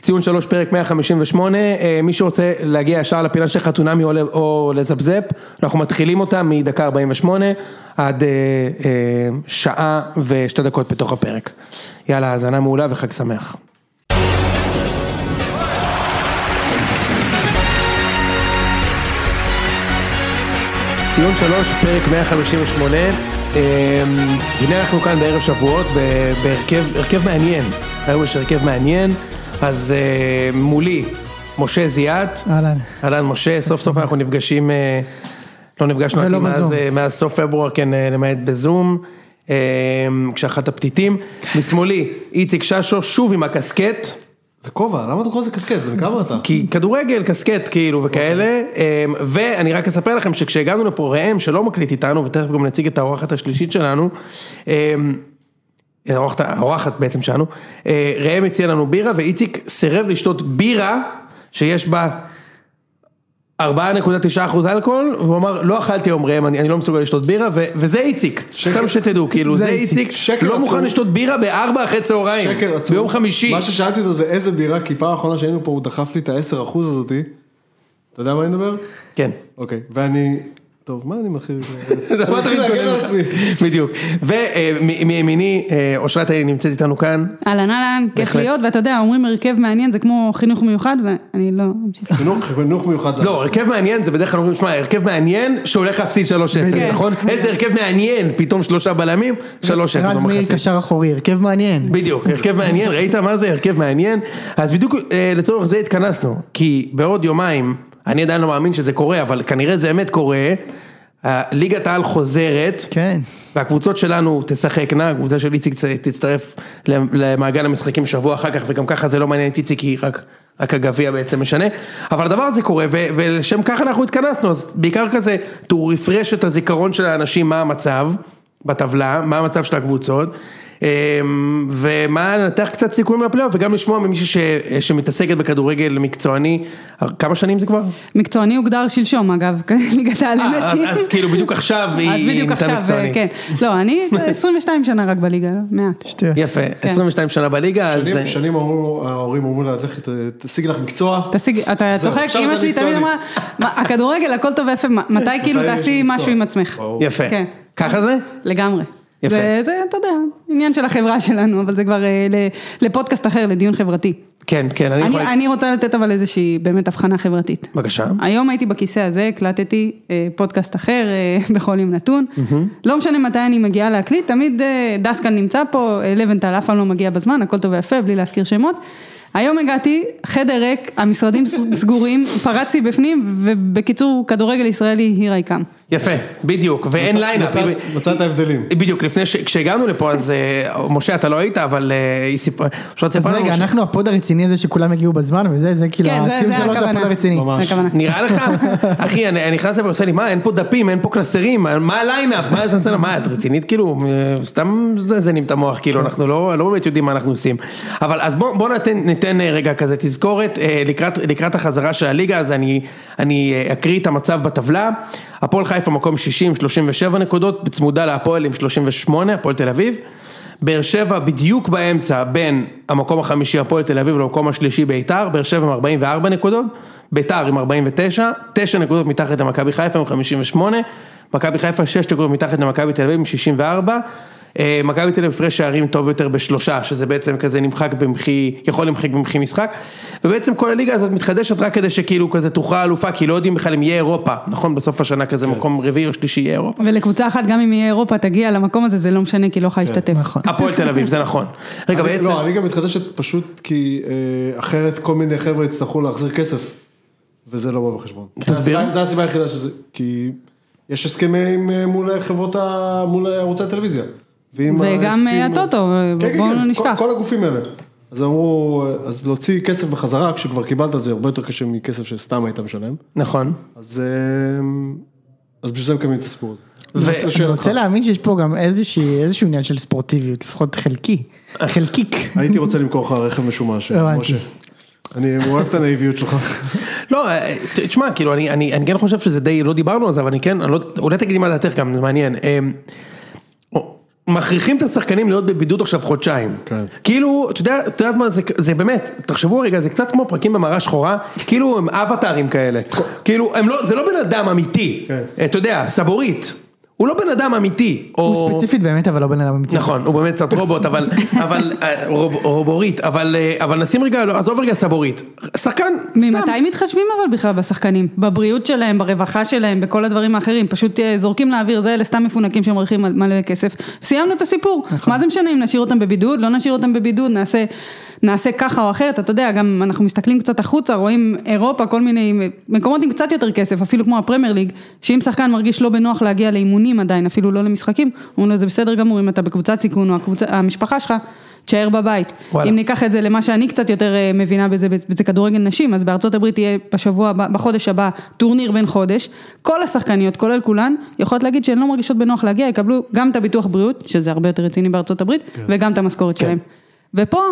ציון שלוש פרק 158, אה, מי שרוצה להגיע ישר לפינה של חתונמי או ל- או לזפזפ, אנחנו מתחילים אותה מדקה 48 עד אה, אה, שעה ושתי דקות בתוך הפרק. יאללה, האזנה מעולה וחג שמח. ציון שלוש, פרק 158. אה, הנה אנחנו כאן בערב שבועות, ב- בהרכב הרכב מעניין. היום יש הרכב מעניין, אז אה, מולי, משה זיאת. אהלן. אהלן משה, סוף סוף אנחנו נפגשים, אה, לא נפגשנו ולא לדעתי מאז, בזום. אה, מאז סוף פברואר, כן, אה, למעט בזום, אה, כשאחת הפתיתים. משמאלי, איציק ששו, שוב עם הקסקט. זה כובע, למה אתה קורא לזה קסקט? בן כמה אתה? כי כדורגל, קסקט כאילו וכאלה, אוקיי. אמ, ואני רק אספר לכם שכשהגענו לפה ראם שלא מקליט איתנו, ותכף גם נציג את האורחת השלישית שלנו, אמ, האורחת- האורחת בעצם שלנו, אה, ראם הציע לנו בירה ואיציק סירב לשתות בירה שיש בה 4.9% אלכוהול, והוא אמר לא אכלתי היום ראם, אני אני לא מסוגל לשתות בירה, ו- וזה איציק, סתם שתדעו, כאילו זה זה איציק. איציק, שקר לא עצום. מוכן לשתות בירה בארבע אחרי צהריים, שקר עצום. ביום חמישי. מה ששאלתי אותו זה איזה בירה, כי פעם האחרונה שהיינו פה הוא דחף לי את ה-10% הזאתי. אתה יודע מה אני מדבר? כן. אוקיי. ואני... טוב, מה אני מתחיל? אתה אני באת מתחיל להתגונן להגן על לך. עצמי. בדיוק. ומימיני, אה, אושרת אלי נמצאת איתנו כאן. אהלן אהלן, כיף בהחלט. להיות, ואתה יודע, אומרים הרכב מעניין, זה כמו חינוך מיוחד, ואני לא אמשיך. חינוך- חינוך מיוחד זה... לא, הרכב מעניין זה בדרך כלל אומרים, שמע, הרכב מעניין שהולך להפסיד 3-0, בדיוק. נכון? איזה הרכב מעניין, פתאום שלושה בלמים, 3-0 רז מאיר במחצית. קשר אחורי, הרכב מעניין. בדיוק, הרכב מעניין, ראית מה זה הרכב מעניין? אז בדיוק אה, לצורך זה התכנסנו, כי בעוד יומיים, אני עדיין לא מאמין שזה קורה, אבל כנראה זה אמת קורה, אה, ליגת העל חוזרת. כן. והקבוצות שלנו תשחקנה, הקבוצה של איציק צ- תצטרף למעגל המשחקים שבוע אחר כך, וגם ככה זה לא מעניין את איציק, כי רק, רק הגביע בעצם משנה. אבל הדבר הזה קורה, ו- ולשם כך אנחנו התכנסנו, אז בעיקר כזה, to refresh את הזיכרון של האנשים, מה המצב בטבלה, מה המצב של הקבוצות, אמ, ומה נתח קצת סיכויים לפלייאוף, וגם לשמוע ממישהי ש- שמתעסקת בכדורגל מקצועני, כמה שנים זה כבר? מקצועני הוגדר שלשום אגב, ליגת העל אה, אז, לנשים. אז כאילו בדיוק עכשיו היא אז בדיוק נהייתה עכשיו, מקצוענית. כן. לא, אני 22 שנה רק בליגה, לא? מעט. שטויות. יפה, 22 שנה בליגה, אז... אה, שנים- שנים אמרו- ההורים אמרו לה, לכי ת- תשיג לך מקצוע. תשיג, אתה זהו, צוחק, עכשיו אמא זה שלי תמיד מקצועני. אמרה, "מה, הכדורגל הכל טוב ויפה, מ- מתי כאילו מתי יש תעשי מקצוע?" משהו עם עצמך? ברור. יפה. כן. ככה זה? לגמרי. יפה. זה, זה, אתה יודע, עניין של החברה שלנו, אבל זה כבר אה, ל- לפודקאסט אחר, לדיון חברתי. כן, כן, אני יכול... אני, אני רוצה לתת אבל איזושהי באמת הבחנה חברתית. בבקשה. היום הייתי בכיסא הזה, הקלטתי אה, פודקאסט אחר אה, בכל יום נתון. לא משנה מתי אני מגיעה להקליט, תמיד אה, דסקל נמצא פה, אה, לבנטל אף פעם לא מגיע בזמן, הכל טוב ויפה, בלי להזכיר שמות. היום הגעתי, חדר ריק, המשרדים ס- סגורים, פרצתי בפנים, ובקיצור, כדורגל ישראלי, here I כאילו, come. יפה, בדיוק, ואין מצא- ליינאפ. מצא- מצא את ההבדלים. בדיוק, לפני ש... כשהגענו לפה, אז אה, משה, אתה לא היית, אבל אה, היא סיפרה... פשוט אז סיפרה לנו רגע, ש- אנחנו הפוד הרציני הזה שכולם הגיעו בזמן וזה, זה כאילו, כן, זה- הציון זה שלו זה הפוד הכוונה. הרציני. ממש. זה הכוונה. נראה לך? אחי, אני אני נכנס לפה ועושה לי, מה, אין פה דפים, אין פה קלסרים, מה הליינאפ? מה זה עושה לה? מה, את רצינית? כאילו, אה, סתם מזנזנים את המוח, כאילו, אנחנו לא לא באמת יודעים מה אנחנו עושים. אבל אז בוא- בוא ניתן- ניתן אה, רגע כזה תזכורת, אה, לקראת- לקראת החזרה של הליגה, אז אני- אני אה, אקריא את המצב בטבלה. הפועל חיפה מקום 60, 37 נקודות, צמודה להפועל עם 38, הפועל תל אביב. באר שבע בדיוק באמצע בין המקום החמישי הפועל תל אביב למקום השלישי ביתר, באר שבע עם 44 נקודות, ביתר עם 49, 9 נקודות מתחת למכבי חיפה עם 58, מכבי חיפה 6 נקודות מתחת למכבי תל אביב עם 64, אה, מכבי תל אביב הפרש שערים טוב יותר בשלושה, שזה בעצם כזה נמחק במחי, יכול למחק במחי משחק, ובעצם כל הליגה הזאת מתחדשת רק כדי שכאילו כזה תוכרע אלופה, כי לא יודעים בכלל אם יהיה אירופה, נכון? בסוף השנה כזה כן. מקום רביעי או שלישי יהיה אירופה. ולקבוצה אחת, גם אם יהיה אירופה, תגיע למקום הזה, זה לא משנה, כי לא כן. יכולה להשתתף. נכון. הפועל תל אביב, זה נכון. רגע, אני- בעצם... לא, אני גם מתחדשת פשוט כי אה, אחרת כל מיני חבר'ה יצטרכו להחזיר כסף, וזה לא בא בחשבון. תסביר. זו הסיבה היחידה שזה, כי יש הסכמים אה, מול חברות, ה- מול ערוצי הטלוויזיה. ואם וגם, ההסכם- אה, הטוטו, כן, כן, בואו כן, לא נשכח. כל כל הגופים האלה. אז אמרו, אה, אז להוציא כסף בחזרה, כשכבר קיבלת זה הרבה יותר קשה מכסף שסתם היית משלם. נכון. אז אה, אז בשביל זה מקבלים את הסיפור הזה. ו- אני רוצה אני לשאול אותך. רוצה להאמין שיש פה גם איזושהי- איזשהו עניין של ספורטיביות, לפחות חלקי. חלקיק. הייתי רוצה למכור לך רכב משומש, הבנתי. משה. אני אוהב את הנאיביות שלך. לא, אה, ת- תשמע, כאילו, אני, אני, אני כן חושב שזה די, לא דיברנו על זה, אבל אני כן, אני לא, אולי תגידי מה דעתך גם, זה מעניין. אה, אמ, מכריחים את השחקנים להיות בבידוד עכשיו חודשיים. כן. כאילו, אתה יודע, אתה יודעת מה, זה, זה באמת, תחשבו רגע, זה קצת כמו פרקים במראה שחורה, כאילו הם אבטארים כאלה. כאילו, הם לא, זה לא בן אדם אמיתי. אה, כן. אתה יודע, סבורית. הוא לא בן אדם אמיתי. או- הוא ספציפית באמת, אבל לא בן אדם אמיתי. נכון, הוא באמת קצת רובוט, אבל, אבל, אה, רוב, רובורית, אבל, אה, אבל נשים רגע, לא, עזוב רגע סבורית. שחקן, סתם. ממתי מתחשבים אבל בכלל בשחקנים? בבריאות שלהם, ברווחה שלהם, בכל הדברים האחרים. פשוט אה, זורקים לאוויר, זה אלה סתם מפונקים שמרוויחים מל- מלא כסף. סיימנו את הסיפור. מה זה משנה אם נשאיר אותם בבידוד, לא נשאיר אותם בבידוד, נעשה... נעשה ככה או אחרת, אתה יודע, גם אנחנו מסתכלים קצת החוצה, רואים אירופה, כל מיני מקומות עם קצת יותר כסף, אפילו כמו הפרמייר ליג, שאם שחקן מרגיש לא בנוח להגיע לאימונים עדיין, אפילו לא למשחקים, אומרים לו זה בסדר גמור, אם אתה בקבוצת סיכון או הקבוצה, המשפחה שלך, תשאר בבית. וואלה. אם ניקח את זה למה שאני קצת יותר אה, מבינה בזה, וזה כדורגל נשים, אז בארצות הברית יהיה בשבוע הבא, בחודש הבא, טורניר בן חודש, כל השחקניות, כולל כולן, יכולות להגיד שהן לא מרגישות בנוח להגיע, יקבלו גם את הביטוח בריאות, שזה הרבה יותר רציני בארצות הברית, וגם את המשכורת שלהם. ופה,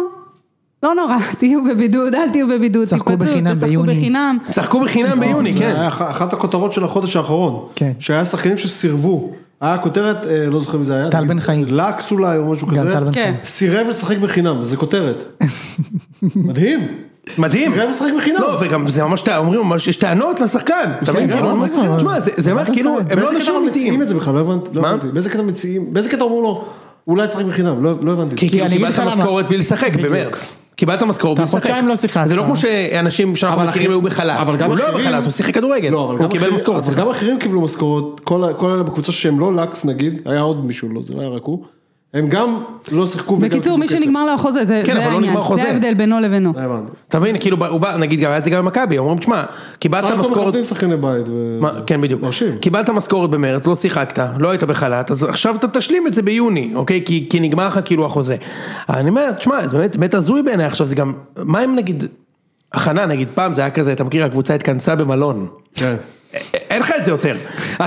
לא נורא, תהיו בבידוד, אל תהיו בבידוד, צחקו תתפצו, בחינם תשחקו ביוני. בחינם. שחקו בחינם ביוני, זה כן. היה אח- אחת הכותרות של החודש האחרון. כן. שהיה שחקנים שסירבו. היה כותרת, אה, לא זוכר אם זה היה. טל בן חיים. לקס אולי או משהו גם כזה. טל בן כן. חיים. סירב לשחק בחינם, זה כותרת. מדהים. מדהים. סירב לשחק בחינם. לא, וגם זה ממש, טע- אומרים, ממש, יש טענות לשחקן. אתה סירב מבין, כאילו, לשחק ממש, בחינם. תשמע, זה- זה ממש אתה כאילו, סירב. הם לא באיזה קטע אנשים מציעים אמיתיים. את זה בכלל? לא הבנתי. לא מה? הבנתי. באיזה קטע מציעים, באיזה קטע אמרו לו, אולי תשחק בחינם, לא לא הבנתי. כי כאילו אני אגיד קיבלת לך למה. משכורת בלי לשחק במרץ. קיבלת משכורת בלי אתה לשחק. חודשיים לא שיחקת. זה לא כמו שאנשים שאנחנו אבל מכירים אחי- היו בחל"ת. אבל גם הוא לא היה אחרים- בחל"ת, הוא שיחק כדורגל. לא, אבל גם הוא קיבל אחרים- משכורת. אבל סליחה. גם אחרים קיבלו משכורות, כל ה- כל אלה בקבוצה שהם לא לקס נגיד, היה עוד מישהו, לא, זה לא היה רק הוא, הם גם לא שיחקו וגם בקיצור, מי קיבלו כסף. שנגמר לו החוזה, זה כן, זה אבל לא העניין, נגמר חוזה. זה ההבדל בינו לבינו. לא הבנתי. אתה מבין, כאילו, הוא בא, נגיד, גם היה את זה גם במכבי, אומרים, תשמע, קיבלת סך הכל משכורת... מכבדים שחקני בית. ו- מה, כן בדיוק, מרשים. קיבלת משכורת במרץ, לא שיחקת, לא היית בחל"ת, אז עכשיו אתה תשלים את זה ביוני, אוקיי? כי, כי נגמר לך כאילו החוזה. אני אומר, תשמע, זה באמת, באמת הזוי בעיניי עכשיו, זה גם, מה אם נגיד, הכנה נגיד, פעם זה היה כזה, אתה מכיר, הקבוצה התכנסה במלון. כן. א- אין לך את זה יותר.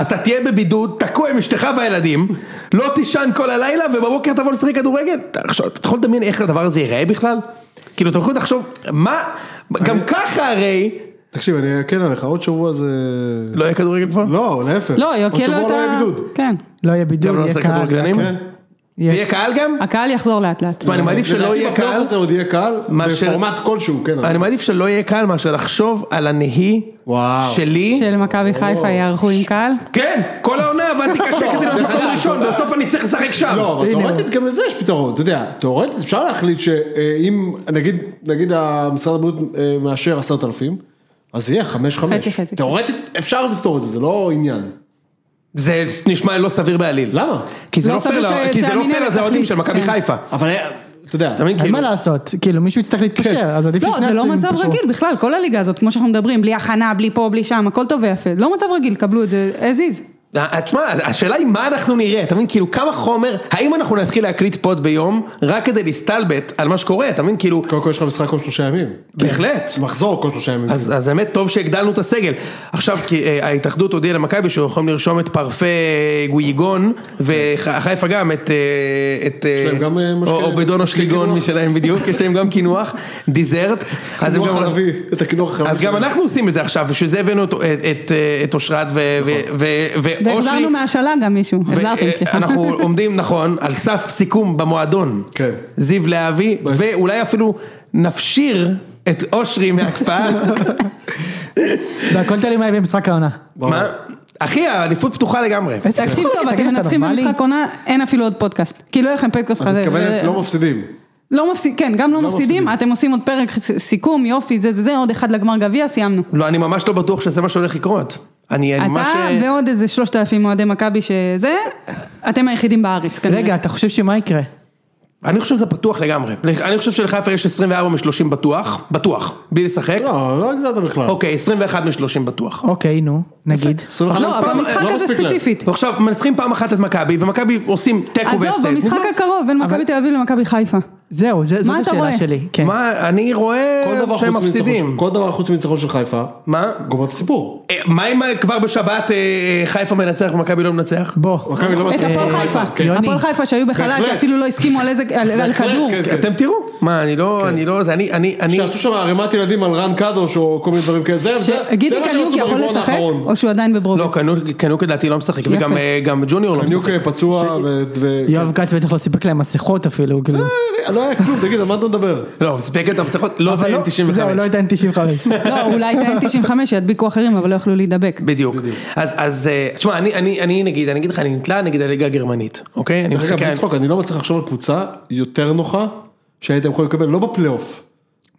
אתה תהיה בבידוד, תקוע עם אשתך והילדים, לא תישן כל הלילה ובבוקר תבוא לשחק כדורגל. אתה עכשיו, אתה יכול לדמיין איך הדבר הזה ייראה בכלל? כאילו, אתה יכול לחשוב, מה, גם ככה הרי, תקשיב, אני אקל עליך, עוד שבוע זה... לא יהיה כדורגל כבר? לא, להפך. לא, עוד יוקל לו שבוע את לא ה... יהיה בידוד. כן. לא יהיה בידול, גם לא יהיה לשחק קהל. כדורגלנים? כן. יהיה קהל גם? הקהל יחזור לאט לאט. תשמע, אני מעדיף שלא לדעתי יהיה בפלייאוף קהל, הזה עוד יהיה קהל, מאשר- בפורמט כלשהו, כן. אבל- אני מעדיף שלא יהיה קהל מאשר לחשוב על הנהי וואו. שלי. של מכבי חיפה יערכו עם קהל. כן, כל העונה עבדתי קשה כדי להיות מקום ראשון, בסוף אני צריך לשחק שם. לא, אבל תאורטית גם לזה יש פתרון, אתה יודע, תאורטית אפשר להחליט שאם, נגיד, נגיד משרד הבריאות אה, מאשר עשרת אלפים, אז יהיה חמש חצי, חמש. חצי. כן. תאורטית אפשר לפתור את זה, זה לא עניין. זה נשמע לא סביר בעליל. למה? כי זה לא לא פייר, סביר ל- ש- כי זה לא שהמינהלת פייר לזהודים תחליט, של מכבי כן. חיפה. אבל אה, אתה יודע, אתה מבין? אז מה כאילו, כן. לעשות? כאילו מישהו יצטרך להתפשר, אז עדיף לא, ששני זה לא הצדדים מצב יתפשרו. רגיל בכלל, כל הליגה הזאת, כמו שאנחנו מדברים, בלי הכנה, בלי פה, בלי שם, הכל טוב ויפה. לא מצב רגיל, קבלו את זה as is. אה, תשמע, השאלה היא מה אנחנו נראה, אתה מבין? כאילו כמה חומר, האם אנחנו נתחיל להקליט פוד ביום רק כדי להסתלבט על מה שקורה, אתה מבין? כאילו, קודם כל יש לך משחק כל שלושה ימים. בהחלט. מחזור כל שלושה ימים. אז, אז האמת טוב שהגדלנו את הסגל. עכשיו כי אה, ההתאחדות הודיעה למכבי שהוא יכולים לרשום את פרפה גויגון וחיפה גם את... אה, את אה, יש להם גם, אה, משקה- או- אובדונו שליגון קינוח. משלהם בדיוק, יש להם גם קינוח, דיזרט. אז הם קינוח לא גם- חלבי, את הקינוח החלבי אז גם שלהם. אנחנו עושים את זה עכשיו, בשביל זה הבאנו את- את- את, אה, את אושרת ו- ו- נכון. ו- ואושרי. והחזרנו מהשאלה גם מישהו, ו- החזרתם, אה, סליחה. אנחנו עומדים, נכון, על סף סיכום במועדון. כן. זיו להבי, ואולי אפילו נפשיר את אושרי מהקפאה. והכל תלוי מה יהיה במשחק העונה. מה? אחי, האליפות פתוחה לגמרי. איזה תקשיב צחוק, טוב, תגיד, אתם אתה מנצחים נורמלי? במשחק עונה, אין אפילו עוד פודקאסט. כי לא יהיה לכם פודקאסט את כזה. מתכוונת זה- לא מפסידים. לא מפסיד, כן, גם לא מפסידים, מפסידים. אתם עושים עוד פרק ס- סיכום, יופי, זה זה זה, עוד אחד לגמר גביע, סיימנו. לא, אני ממש לא בטוח שזה מה שהולך לקרות. אני אני ממש... אתה ועוד איזה שלושת אלפים אוהדי מכבי שזה, אתם היחידים בארץ כנראה. רגע, אתה חושב שמה יקרה? אני חושב שזה פתוח לגמרי. אני חושב שלחיפה יש 24 מ-30 בטוח, בטוח, בלי לשחק. לא, לא הגזמת בכלל. אוקיי, 21 מ-30 בטוח. אוקיי, נו, נגיד. 25 לא, פעם, במשחק לא הזה מספיק להם. ספציפית. ועכשיו מנצחים פעם אחת את מכבי, ומכבי עושים תיקו והפסד. עזוב, במשחק הקרוב בין מכבי תל אביב למכבי חיפה. זהו, זה- זאת אתה רואה? השאלה שלי. כן. מה, אני רואה כל דבר שהם חוץ מניצחון מפסידים. של- כל דבר חוץ מניצחון של חיפה, מה? גומר את הסיפור. אה, מה אם אה, כבר בשבת אה, אה, חיפה מנצח ומכבי לא מנצח? בוא. מכבי לא את מצליחה. הפועל חיפה, כן. הפועל חיפה שהיו בחל"ת, בהחלט. שאפילו לא הסכימו על איזה, על- על כדור. כן, כן. אתם תראו. מה, אני לא, אני לא, זה אני, אני, אני, שעשו שם ערימת ילדים על רן קדוש או כל מיני דברים כאלה, זה זה- זה גידי מה שהם עשו קניוק יכול ברבעון לשחק, אוקיי. האחרון. או שהוא עדיין בברוביץ? לא, קנו- קנוק לדעתי לא משחק, יפה. וגם אה, גם ג'וניור לא קניוק משחק. פצוע ו... ו- יואב כץ בטח לא סיפק להם מסכות אפילו, כאילו. כן. לא היה כלום, תגיד, על מה אתה מדבר? לא, מספיק את המסכות, לא אבל בין לא- זהו, 95. לא הייתה N95. לא, אולי את ה-N95 ידביקו אחרים, אבל לא יכלו להידבק. בדיוק. אז, אז, אה, תשמע, אני, אני, אני נגיד, אני אגיד לך, אני נתלה נגיד הליגה הגרמנית, אוקיי? אני דרך אגב, מחכה- בלי צחוק, אני לא מצליח לחשוב על קבוצה יותר נוחה שהייתם יכולים לקבל, לא בפלייאוף.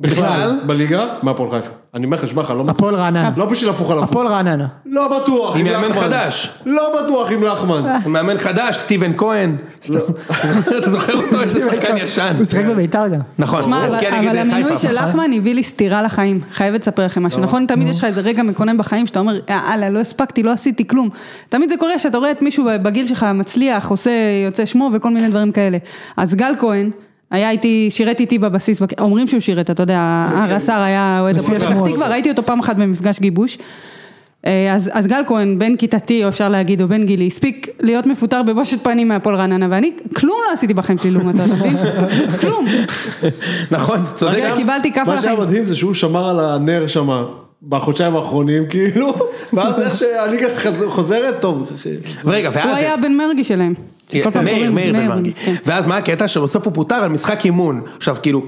בכלל, בליגה, מהפועל חיפה. אני אומר לך, שמע לך, לא מצליח. הפועל אה. רעננה. לא בשביל הפוך על הפוך. הפועל רעננה. לא בטוח. עם מאמן לחמן. חדש. לא בטוח עם אה. לחמן. מאמן חדש, סטיבן כהן. אתה זוכר אותו? איזה שחקן ישן. לא. הוא שיחק בביתר גם. נכון, שמע, הוא אבל הבקיע אבל נגד המינוי חיפה. נכון. לא. של לחמן הביא לי סטירה לחיים, חייבת לספר לכם משהו, נכון? תמיד יש לך איזה רגע מקונן בחיים שאתה אומר, "אה, הלאה, לא הספקתי, לא עשיתי כלום. תמיד זה קורה שאתה רואה את מישהו בגיל שלך מצליח, עושה, יוצא שמו וכל מיני דברים כאלה. אז גל כהן... היה איתי, שירת איתי בבסיס, בק- אומרים שהוא שירת, אתה יודע, כן. הרס"ר היה אוהד לפי הפועל פתח השמועות. תקווה, ראיתי אותו פעם אחת במפגש גיבוש. אה, אז, אז גל כהן, בן כיתתי, או אפשר להגיד, או בן גילי, הספיק להיות מפוטר בבושת פנים מהפועל רעננה, ואני כלום לא עשיתי בחיים שלי לעומתו, אתה מבין? כלום. נכון, צודק. רגע, קיבלתי כף על מה שהיה החיים. מדהים זה שהוא שמר על הנר שם בחודשיים האחרונים, כאילו, ואז איך שהליגה חז- חוזרת, טוב. רגע, ואז... הוא היה בן מרגי שלהם. כל פעם אה, כן, מאיר, קוראים, מאיר בן מרגי. כן. ואז מה הקטע? שבסוף הוא פוטר על משחק אימון. עכשיו כאילו...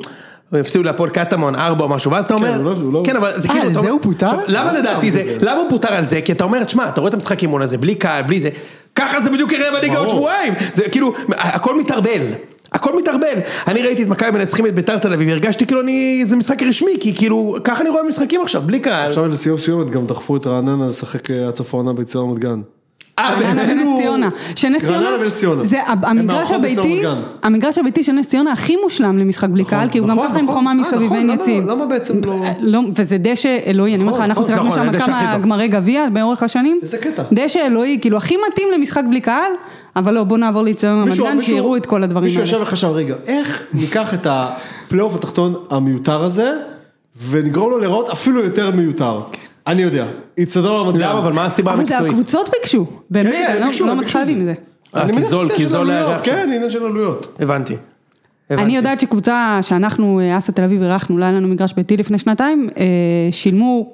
הם הפסידו להפועל קטמון ארבע או משהו, ואז אתה הוא אומר, לא- הוא לא- כן אבל זה אה, כאילו, אתה על זה אומר- הוא פוטר? עכשיו, למה לדעתי זה, למה הוא פוטר על זה? כי אתה אומר, תשמע, אתה רואה את המשחק אימון הזה, בלי קהל, בלי זה, ככה זה בדיוק יראה בליגה עוד ברור. שבועיים, זה כאילו, הכל מתערבל, הכל מתערבל. אני ראיתי את מכבי מנצחים את ביתר תל אביב, הרגשתי כאילו אני, זה משחק רשמי, כי כאילו, ככה אני רואה משחקים עכשיו, בלי קהל. עכשיו לסיום סיומת גם דחפו את רעננה לשחק אה, עד סוף העונה ביציאה רמת גן. אה, רעננה כאילו- ונס ציונה, רעננה שנס ציונה, ונס ציונה. זה הם ה- המגרש מארחות בצהר הביתי, מגן. המגרש הביתי של נס ציונה הכי מושלם למשחק בלי קהל, כי הוא גם נכון, ככה עם נכון. חומה אה, מסביב נכון, ואין למה- יציב. למה בעצם לא- לא, וזה דשא אלוהי, אני אומרת לך, נכון, אנחנו נכון, שיחקנו נכון, שם הדשא הכי כמה טוב. גמרי גביע באורך השנים, איזה קטע. דשא אלוהי, כאילו הכי מתאים למשחק בלי קהל, אבל לא, בוא נעבור לציון מישהו- המדען, מישהו- שיראו את כל הדברים מישהו האלה. ישב וחשב, רגע, איך ניקח את הפלייאוף התחתון המיותר הזה, ונגרום לו להיראות אפילו יותר מיותר. אני יודע, יצטדור על המדגן. למה, אבל מה הסיבה כן. אבל זה המקצועית? הקבוצות ביקשו, באמת, כן, אני לא- ביקשו, לא ביקשו מצליחה את זה. להבין את זה. אה, אני כי מניח זול, שזה כי של זול היה עלויות, גם. כן, עניין של עלויות. הבנתי. אני הבנתי. יודעת שקבוצה שאנחנו, אה, אסא תל אביב, אירחנו, לא היה לנו מגרש ביתי לפני שנתיים, אה, שילמו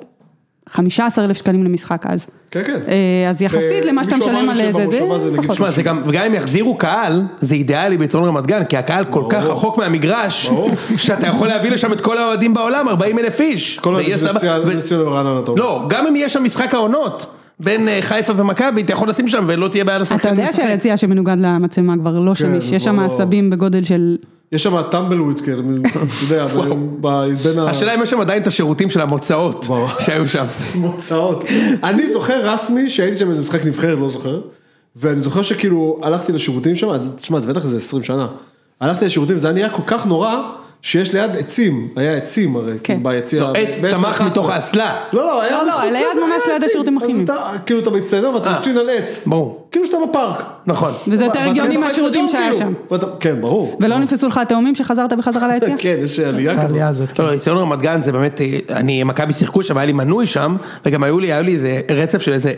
15 אלף שקלים למשחק אז. כן, כן. אה, אז יחסית למה שאתה מישהו אמר משלם לי על זה, שבמושבה זה זה נגיד פחות. תשמע, זה גם, וגם אם יחזירו קהל, זה אידיאלי בצאן רמת גן, כי הקהל כל כך רחוק מהמגרש, שאתה יכול להביא לשם את כל האוהדים בעולם, 40 אלף איש. כל זה יהיה סבבה. ו- הניסיון ברעננה, אתה אומר. לא, גם אם יהיה שם משחק העונות, בין אה, חיפה ומכבי, אתה יכול לשים שם ולא תהיה בעיה לשחקנים. אתה יודע לשחק. שהיציע שמנוגד למצלמה כבר לא שמיש, זה יש כבר שם לא- עשבים בגודל של... יש שם טמבל וויצקר, אתה יודע, ב- ב- בין השאלה אם יש שם עדיין את השירותים של המוצאות ברור. שהיו שם. המוצאות. אני זוכר רסמי שהייתי שם איזה משחק נבחרת, לא זוכר, ואני זוכר שכאילו הלכתי לשירותים שם, אז- תשמע, זה בטח איזה 20 שנה. הלכתי לשירותים, זה היה נראה כל כך נורא, שיש ליד עצים, היה עצים הרי, כאילו ביציע. לא, עץ בעשר צמח אחת עשרה. מתוך האסלה. לא, לא, היה כן. לא, לא, מחוץ היה לזה, ממש ליד עצים. השירותים אז הכימיים. אתה- כאילו אתה מצטיינים ואתה אה. משתין על עץ. ברור. כאילו שאתה בפארק. נכון. וזה יותר ואתה הגיוני כאילו מהשירותים בחצי שהיה אדום, שם. כאילו. ואתה- כן, ברור. ולא נפסו לך התאומים שחזרת בחזרה ליציע? כן, יש עלייה כזאת. העלייה הזאת, כן. לא, לא, ניסיון רמת גן זה באמת, אה, אני, מכבי שיחקו שם, היה לי מנוי שם, וגם היו לי, היה לי איזה רצף של איזה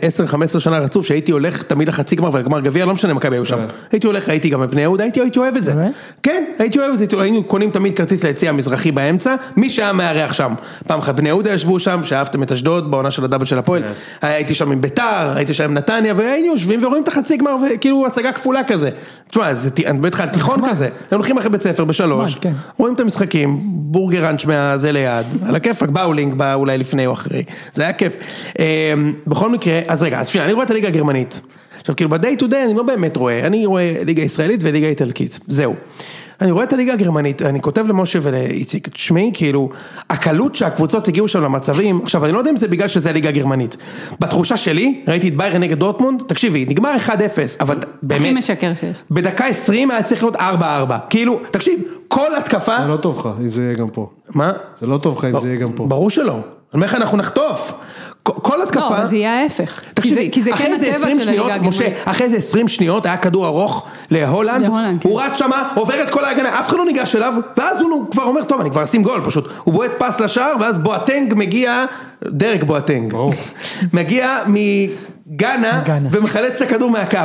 10-15 שנה רצוף, שהייתי הולך תמיד לחצי גמר ולגמר גביע, לא משנה מכבי היו שם. הייתי הולך, הייתי גם בבני יהודה, הייתי הייתי אוהב את זה. כן. באמת? כן, הייתי אוהב את זה, הייתי- היינו קונים תמיד כרטיס ליציע המזרחי באמצע, מי שהיה מארח שם. פעם אחת בני יהודה ישבו שם, שאהבתם את אשדוד, בעונה של הדאבל של כן. הפועל, הייתי שם עם ביתר, הייתי שם עם נתניה, והיינו יושבים ורואים את החצי גמר, וכאילו הצגה כפולה כזה. תשמע, זה, ת- אני מדבר איתך על תיכון כזה, הם הולכים אחרי בית ספר בשלוש, נחמד, כן. רואים את המשחקים, בורגראנץ' מהזה ליד, על הכיפאק, באולינג בא אולי לפני או אחרי, זה היה כיף. אה, בכל מקרה, אז רגע, אז שנייה, אני רואה את הליגה הגרמנית. עכשיו כאילו ב-day to day אני לא באמת רואה, אני רואה ליגה ישראלית וליגה איטלקית, זהו. אני רואה את הליגה הגרמנית, אני כותב למשה ולאיציק, תשמעי, כאילו, הקלות שהקבוצות הגיעו שם למצבים, עכשיו אני לא יודע אם זה בגלל שזה הליגה הגרמנית. בתחושה שלי, ראיתי את ביירן נגד דורטמונד, תקשיבי, נגמר 1-0, אבל באמת... הכי משקר שיש. בדקה 20 היה צריך להיות 4-4, כאילו, תקשיב, כל התקפה, זה לא טוב לך, אם זה יהיה גם פה. מה? זה לא טוב לך אם זה יהיה גם פה. ברור שלא. אני אומר לך, אנחנו נחטוף. כל- כל התקפה... לא, אבל זה יהיה ההפך. תקשיבי, כי זה- כי זה כן אחרי זה הטבע 20 של שניות, הליגה משה, הגרמנית. אחרי זה 20 שניות היה כדור ארוך להולנד, להולנד, כן. הוא רץ שמה, עובר את כל ההגנה, אף אחד לא ניגש אליו, ואז הוא כבר אומר, טוב, אני כבר אשים גול פשוט. הוא בועט פס לשער, ואז בואטנג מגיע, דרק בואטנג, מגיע מגאנה, מגאנה. ומחלץ את הכדור מהקו.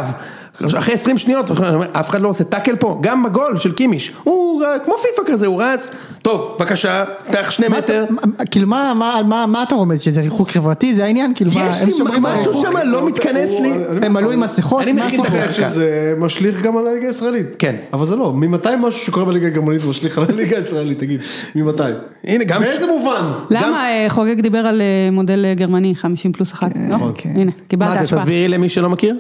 עכשיו, אחרי 20 שניות, אני אומר, אף אחד לא עושה טאקל פה, גם בגול של קימיש, הוא ר- כמו פיפא כזה, הוא רץ, טוב, בבקשה, פתח שני מה אתה- מטר. מה- כאילו מה- מה על מה- מה אתה רומז, שזה ריחוק חברתי, זה העניין? כאילו מה, יש הם לי שומרים על משהו ריחוק, שם לא מתכנס הוא- לי. אני- הם עלו עם מסכות, אני מה מכין את הסיפור? החלק. שזה משליך גם על הליגה הישראלית. כן. אבל זה לא, ממתי משהו שקורה בליגה הגרמנית משליך על הליגה הישראלית, תגיד, ממתי? הנה, גם- באיזה מובן? למה אה, חוגג דיבר על אה, מודל אה, גרמני 50 פלוס 1? נכון. כן. הנה, קיבלת מה זה, השפעה. תסבירי למי שלא מכיר.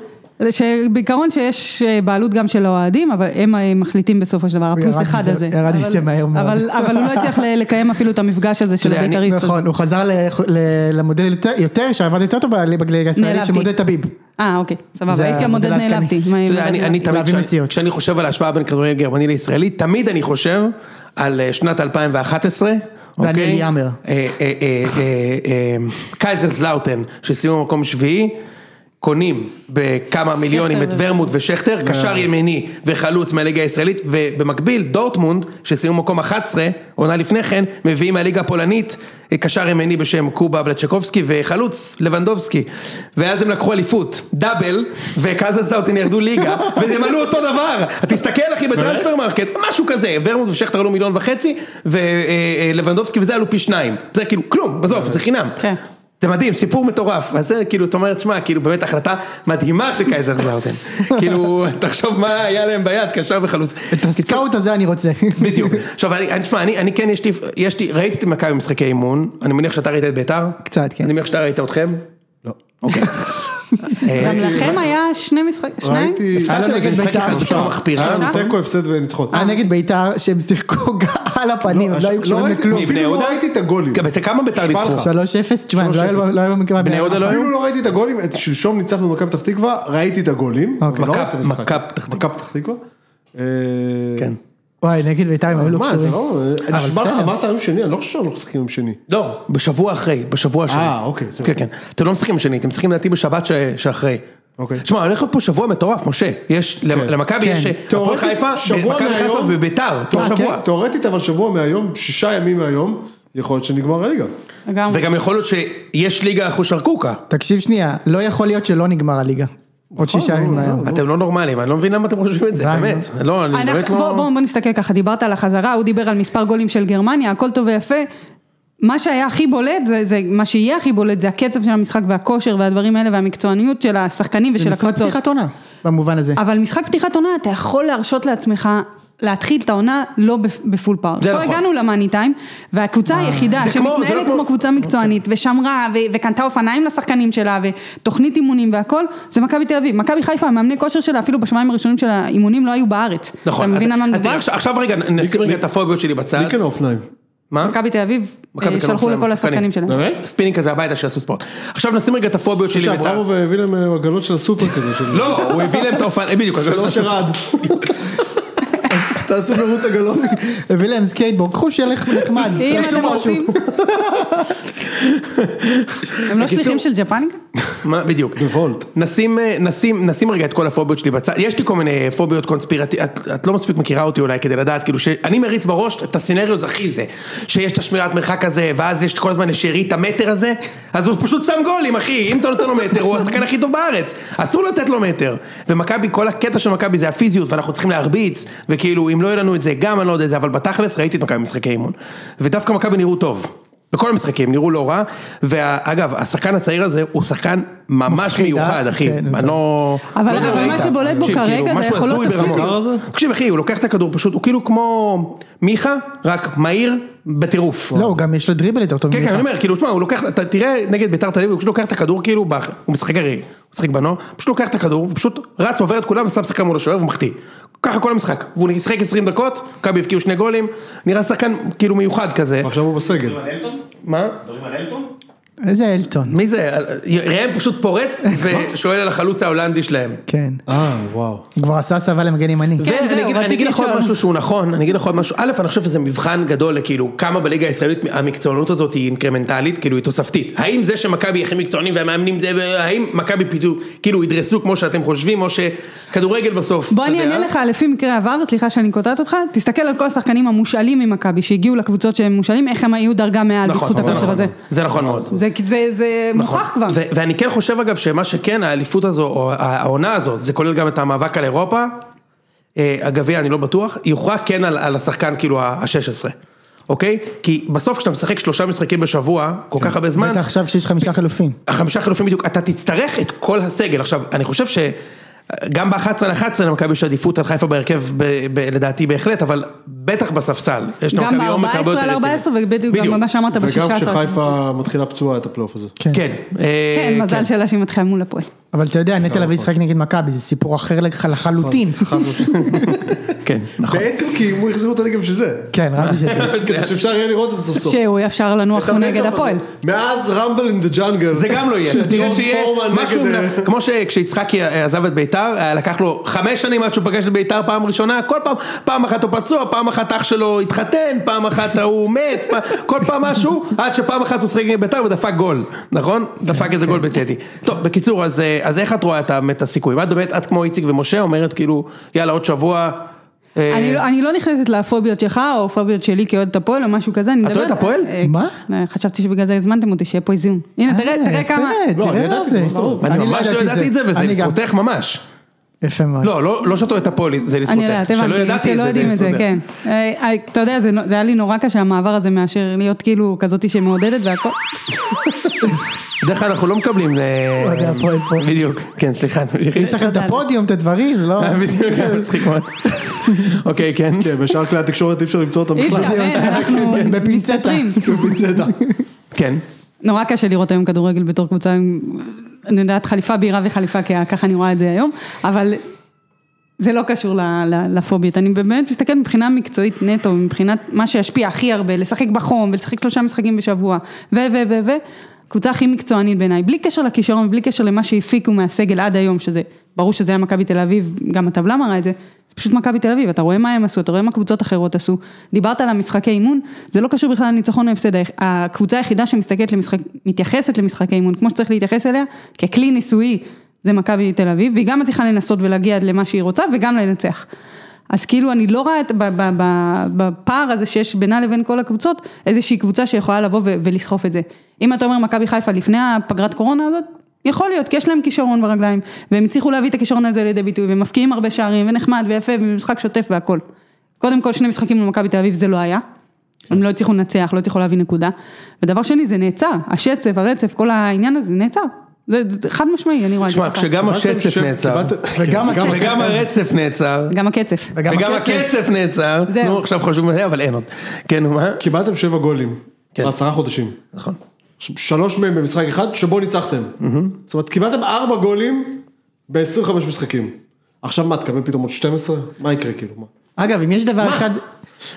שבעיקרון שיש אה, בעלות גם של האוהדים, אבל הם אה, מחליטים בסופו של דבר, הוא הפלוס ירד אחד מזה- הזה. ירד אבל- מזה מהר מאוד. אבל אבל הוא לא הצליח ל- לקיים אפילו את המפגש הזה של יודע, אני- הבית"ריסט הזה. נכון, הוא חזר ל- ל- למודל יותר- יותר, שעבד יותר טוב בליגה הישראלית, נעלבתי. שמודל טביב. אה, אוקיי, זה סבבה, יש גם המודל מודל העדכני. נעלבתי. מה, אתה מודל יודע, אני- נעלבתי. אני תמיד, להביא כשאני- מציאות. כשאני חושב על ההשוואה בין כדורגל גרמני לישראלי, תמיד אני חושב על אה, שנת 2011. דניאל אוקיי? יאמר. אה, אה, אה, אה, אה, קייזרסלאוטן, שסיימו במקום שביעי, קונים בכמה מיליונים את ו- ורמוט ושכטר, קשר ימיני וחלוץ מהליגה הישראלית, ובמקביל דורטמונד, שסיימו במקום 11, עונה לפני כן, מביאים מהליגה הפולנית, אה, קשר ימיני בשם קובה בלצ'קובסקי וחלוץ לבנדובסקי. ואז הם לקחו אליפות, דאבל, וקייזרסלאוטן ירדו ליגה, והם עלו אותו דבר. תסתכל אחי בטרנספר מרקט, משהו כזה, ורמוט ושכטר עלו מיליון וחצי, ולבנדובסקי וזה עלו פי שניים. זה כאילו כלום, עזוב, זה חינם. כן. זה מדהים, סיפור מטורף, אז זה כאילו, אתה אומר, תשמע, כאילו באמת החלטה מדהימה של קייזר זאוטן, כאילו, תחשוב מה היה להם ביד, קשר וחלוץ. את הסקאוט הזה אני רוצה. בדיוק. עכשיו, אני, אני- תשמע, אני, אני כן, יש לי, יש לי, ראיתי את מכבי במשחקי אימון, אני מניח שאתה ראית את ביתר? קצת, כן. אני מניח שאתה ראית אתכם? לא. אוקיי. אה, גם לכם היה שני משחקים, שניים? ראיתי... היה לנו נגד בית"ר, אחד, שלושה. שלושה מחפירה. היה לנו שלושה? תיקו, הפסד וניצחון. אה, היה נגד בית"ר שהם שיחקו על הפנים, הם לא היו לא קשורים ראיתי- לכלום. אפילו מבני לא יהודה? ראיתי את הגולים. כמה- כמה ביתר נשבע ניצחו? לך. 3-0, תשמע, הם לא היו- 3-0. לא היו במקרה בני יהודה לא היו? אפילו לא ראיתי את הגולים, את- שלשום ניצחנו במכבי פתח תקווה, ראיתי את הגולים. אוקיי. אבל לא מכבי- ראיתי את המשחק. מכבי פתח תקווה. מכבי פתח תקווה. אה, כן. וואי, נגד בית"ר הם היו לא מה, זה קשורים. לא... אני נשבע לך, בסדר. אמרת היום שני, אני לא חושב שאנחנו משחקים עם שני. לא, בשבוע אחרי, בשבוע השני. אה, אוקיי, כן, בסדר. כן. אתם לא משחקים שני, אתם משחקים לדעתי בשבת ש- שאחרי. אוקיי. תשמע, הולך להיות פה שבוע מטורף, משה. יש, למ- למכבי כן. יש, הפועל תיאורטית, חיפה, שבוע לא, מכבי חיפה מהיום. כן. וביתר, אותו אה, שבוע. תאורטית, אבל שבוע מהיום, שישה ימים מהיום, יכול להיות שנגמר הליגה. אה, לגמרי. וגם יכול להיות שיש ליגה אחושרקוקה. תקשיב שנייה, לא יכול להיות שלא נגמר הליגה. עוד נכון, שישה לא, ימים זהו. מהיום. אתם לא נורמלים, אני לא מבין למה אתם חושבים את זה, די, באמת. לא, אני אנחנו- באמת אה, בוא, לא... בוא, בוא נסתכל ככה, דיברת על החזרה, הוא דיבר על מספר גולים של גרמניה, הכל טוב ויפה. מה שהיה הכי בולט, זה, זה, מה שיהיה הכי בולט, זה הקצב של המשחק והכושר והדברים האלה והמקצועניות של השחקנים ושל זה משחק הקבוצות. פתיחת עונה, במובן הזה. אבל משחק פתיחת עונה, אתה יכול להרשות לעצמך להתחיל את העונה לא בפ- בפול פאוור. זה כבר נכון. הגענו למאני טיים, והקבוצה היחידה זה כמו- זה לא שמתנהלת כמו- כמו קבוצה מקצוענית, ושמרה, ו- וקנתה אופניים לשחקנים שלה, ותוכנית אימונים והכל, זה מכבי תל אביב. מכבי חיפה, המאמני כושר שלה, אפילו בשמיים הראשונים של האימונים לא היו בארץ. נכון. אתה מבין על אז- מה אז מדובר? תראה, עכשיו- עכשיו רגע, נשים רגע את הפוביות שלי בצד. מי כאן האופניים? מה? מכבי תל אביב, מכבי אה, כאן שלחו אופניים, לכל השחקנים שלהם. ספינינג כזה הביתה שיעשו ספורט. עכשיו נשים רגע את הפוביות שלי ביתר. שאברמוב הביא להם אה, עגלות של הסופר כזה. של- לא, הוא הביא להם את האופן, בדיוק. של אושר עד. תעשו מרוץ עגלות. הביא להם סקייטבורד, קחו שילך נחמד, אם תעשו אתם משהו. רוצים. הם לא שליחים של ג'פניקה? מה, בדיוק. וולט. נשים, אה, נשים, נשים רגע את כל הפוביות שלי בצד, יש לי כל מיני אה, פוביות קונספירטיביות, את, את לא מספיק מכירה אותי אולי כדי לדעת, כאילו שאני מריץ בראש את הסצנריוז הכי זה, שיש את השמירת מרחק הזה, ואז יש כל הזמן לשארית המטר הזה, אז הוא פשוט שם גולים אחי, אם אתה נותן לו מטר, הוא השחקן הכי טוב בארץ, אסור לתת לו מטר, ומכבי, כל הקטע של מכבי זה הפיזיות, ואנחנו צריכים להרביץ, וכאילו אם לא יהיה לנו את זה, גם אני לא יודע את זה, אבל בתכלס ראיתי את מכבי במשחקי אימון, ודווקא מכבי נראו טוב. בכל המשחקים נראו לא רע, ואגב, השחקן הצעיר הזה הוא שחקן ממש מפחיד, אה? מיוחד, אחי. כן, אני לא... אבל- לא יודע אם אבל מה ראית. שבולט בו תקשיב, כרגע כאילו, זה משהו היכולות הזוי ברמות. הפיזיות. אה, הדבר הזה? תקשיב, אחי, הוא לוקח את הכדור פשוט, הוא כאילו כמו מיכה, רק מהיר בטירוף. לא, הוא גם יש לו דריבל יותר טוב כן, כן, ממך. אני אומר, כאילו, תשמע, הוא לוקח, אתה תראה נגד ביתר תל אביב, הוא פשוט לוקח את הכדור, כאילו, באח- הוא משחק הרי, הוא משחק בנו, פשוט לוקח את הכדור, הוא פשוט רץ, עובר את כולם, ושם שחקן מול השוער ומחטיא. ככה כל המשחק. והוא נשחק 20 דקות, מכבי הבקיעו שני גולים, נראה שחקן כאילו מיוחד כזה. עכשיו הוא בסגל. מדברים על אלטון? מה? מדברים על אלטון? איזה אלטון. מי זה? ראם פשוט פורץ ושואל על החלוץ ההולנדי שלהם. כן. אה, וואו. הוא כבר עשה הסבה למגן ימני. כן, ואני זהו, אגיד- אני רציתי אגיד לך עוד לשאול. משהו שהוא נכון, אני אגיד לך עוד משהו, א', אני חושב שזה מבחן גדול לכאילו כמה בליגה הישראלית המקצוענות הזאת היא אינקרמנטלית, כאילו היא תוספתית. האם זה שמכבי הכי מקצוענים והמאמנים זה, האם מכבי פתאום, כאילו ידרסו כמו שאתם חושבים, או שכדורגל בסוף. בוא אתה אני יודע? אענה לך לפי מקרה עבר, סליחה שאני קוטעת אותך, תסתכל על כל השחקנים המושאלים ממכבי, שהגיעו לקבוצות שהם מושאלים, איך הם היו דרגה מעל נכון, בזכות זה הכושר נכון, הזה. זה נכון מאוד. זה- זה- זה נכון. מוכח כבר. ו- ואני כן חושב אגב שמה שכן האליפות הזו, או העונה הזו, זה כולל גם את המאבק על אירופה, אה, הגביע אני לא בטוח, יוכרע כן על, על השחקן כאילו ה-16, אוקיי? כי בסוף כשאתה משחק שלושה משחקים בשבוע, כל כן, כך הרבה זמן, בטח עכשיו כשיש חמישה חילופים. החמישה חילופים בדיוק, אתה תצטרך את כל הסגל. עכשיו, אני חושב שגם ב-11 על 11 למכבי יש עדיפות על חיפה בהרכב, ב- ב- לדעתי בהחלט, אבל בטח בספסל. יש גם למכבי עומק הרבה ב-14 על יותר 14, רציני. ובדיוק גם מה שאמרת ב-16. וגם כשחיפה מתחילה פצועה את הפלייאוף הזה. כן. אה, כן, מזל שלה שהיא מתחילה מול הפועל. אבל אתה יודע, נכון. נטע לביא ישחק נגד מכבי, זה סיפור אחר לח- לחלוטין. חד משמעית. כן, נכון. בעצם כי אם הוא יחזרו אותה גם שזה. כן, רק בשביל זה. כדי שאפשר יהיה לראות את זה סוף סוף. שהוא יאפשר לנוח את המצ'אפ נגד הזה. הפועל. מאז רמבל אין דה ג'אנגל. זה גם לא יהיה, של אתה תראה ג'ון שיהיה פורמן משהו, נגד, אה, כמו שכשיצחקי אה, עזב את ביתר, אה, לקח לו חמש שנים עד שהוא פגש את ביתר פעם ראשונה, כל פעם, פעם אחת הוא פצוע, פעם אחת אח שלו התחתן, פעם אחת ההוא מת, פעם- כל פעם משהו, עד שפעם אחת הוא שחק נגד ביתר ודפק גול, נכון? דפק איזה גול בטדי. טוב, בקיצור, אז, אה, אז איך את רואה את ה- את הסיכויים? את באמת, את כמו איציק ומשה אומרת כאילו, יאללה עוד שבוע. אה, אני לא- אני לא נכנסת לפוביות שלך, או פוביות שלי כאוהדת הפועל, או משהו כזה, אני את מדברת... אוהדת הפועל? אה, מה? אה, אה, חשבתי שבגלל זה הזמנתם אותי, שיהיה פה איזון. הנה, תראה- תראה כמה... יפה, לא, אני תראה ידעתי מה את זה. זה, מה זאת אומרת? אני אני ממש לא ידעתי את זה, וזה אני גם. לזכותך ממש. יפה מאוד. לא, לא לא שאת אוהדת הפועל, זה אני לזכותך. יודעת, שלא הבנתי, ידעתי שלא את זה, יודעים את זה, לזכותך. כן. אה, אה, אתה יודע, זה נו- זה היה לי נורא קשה המעבר הזה מאשר להיות כאילו כזאתי שמעודדת והכל. בדרך כלל אנחנו לא מקבלים... אה, אוהדי הפועל פה. בדיוק, כן סליחה, תמשיכי. יש לכם את הפודיום, את הדברים, לא? בדיוק, היה מצחיק מאוד. אוקיי, כן. כן, בשאר כלי התקשורת אי אפשר למצוא אותם אי בכלל. אפשר, אין, אנחנו בפינצטה. מסתתרים. בצדע. כן. נורא קשה לראות היום כדורגל בתור קבוצה עם, אני יודעת, חליפה בהירה וחליפה, כי ככה אני רואה את זה היום, אבל זה לא קשור ל- ל- לפוביות. אני באמת מסתכלת מבחינה מקצועית נטו, מבחינת מה שישפיע הכי הרבה, לשחק בחום ולשחק שלושה משחקים בשבוע, ו, ו, ו, ו, קבוצה הכי מקצוענית בעיניי, בלי קשר לכישרון, ובלי קשר למה שהפיקו מהסגל עד היום, שזה, ברור שזה היה מכבי תל אביב, גם הטבלה מראה את זה. זה פשוט מכבי תל אביב, אתה רואה מה הם עשו, אתה רואה מה קבוצות אחרות עשו. דיברת על המשחקי אימון, זה לא קשור בכלל לניצחון או הפסד. הקבוצה היחידה שמסתכלת למשחק, מתייחסת למשחקי אימון, כמו שצריך להתייחס אליה, ככלי ניסויי, זה מכבי תל אביב, והיא גם מצליחה לנסות ולהגיע עד למה שהיא רוצה וגם לנצח. אז כאילו אני לא רואה את- ב- ב- ב- בפער הזה שיש בינה לבין כל הקבוצות, איזושהי קבוצה שיכולה לבוא ו- ולסחוף את זה. אם אתה אומר מכבי חיפה לפני הפגרת קורונה הזאת, יכול להיות, כי יש להם כישרון ברגליים, והם הצליחו להביא את הכישרון הזה לידי ביטוי, והם מפקיעים הרבה שערים, ונחמד ויפה, ומשחק שוטף והכל. קודם כל, שני משחקים מול מכבי תל אביב זה לא היה. הם לא הצליחו לנצח, לא הצליחו להביא נקודה. ודבר שני, זה נעצר, השצף, הרצף, כל העניין הזה, זה נעצר. זה זה חד משמעי, אני רואה את זה. תשמע, ככה. כשגם השצף נעצר, קיבלתם- וגם הקצב. וגם הרצף נעצר, גם הקצף. וגם הקצף נעצר, זהו. נו עכשיו חושבים על זה, אבל אין עוד. כן, נו, מה? קיבלתם שבע גולים כן. בעשרה חודשים. נכון. עכשיו, שלוש מהם במשחק אחד, שבו ניצחתם. זאת אומרת, קיבלתם ארבע גולים ב-25 משחקים. עכשיו מה, תקבל פתאום עוד 12? מה יקרה כאילו? מה? אגב, אם יש דבר אחד,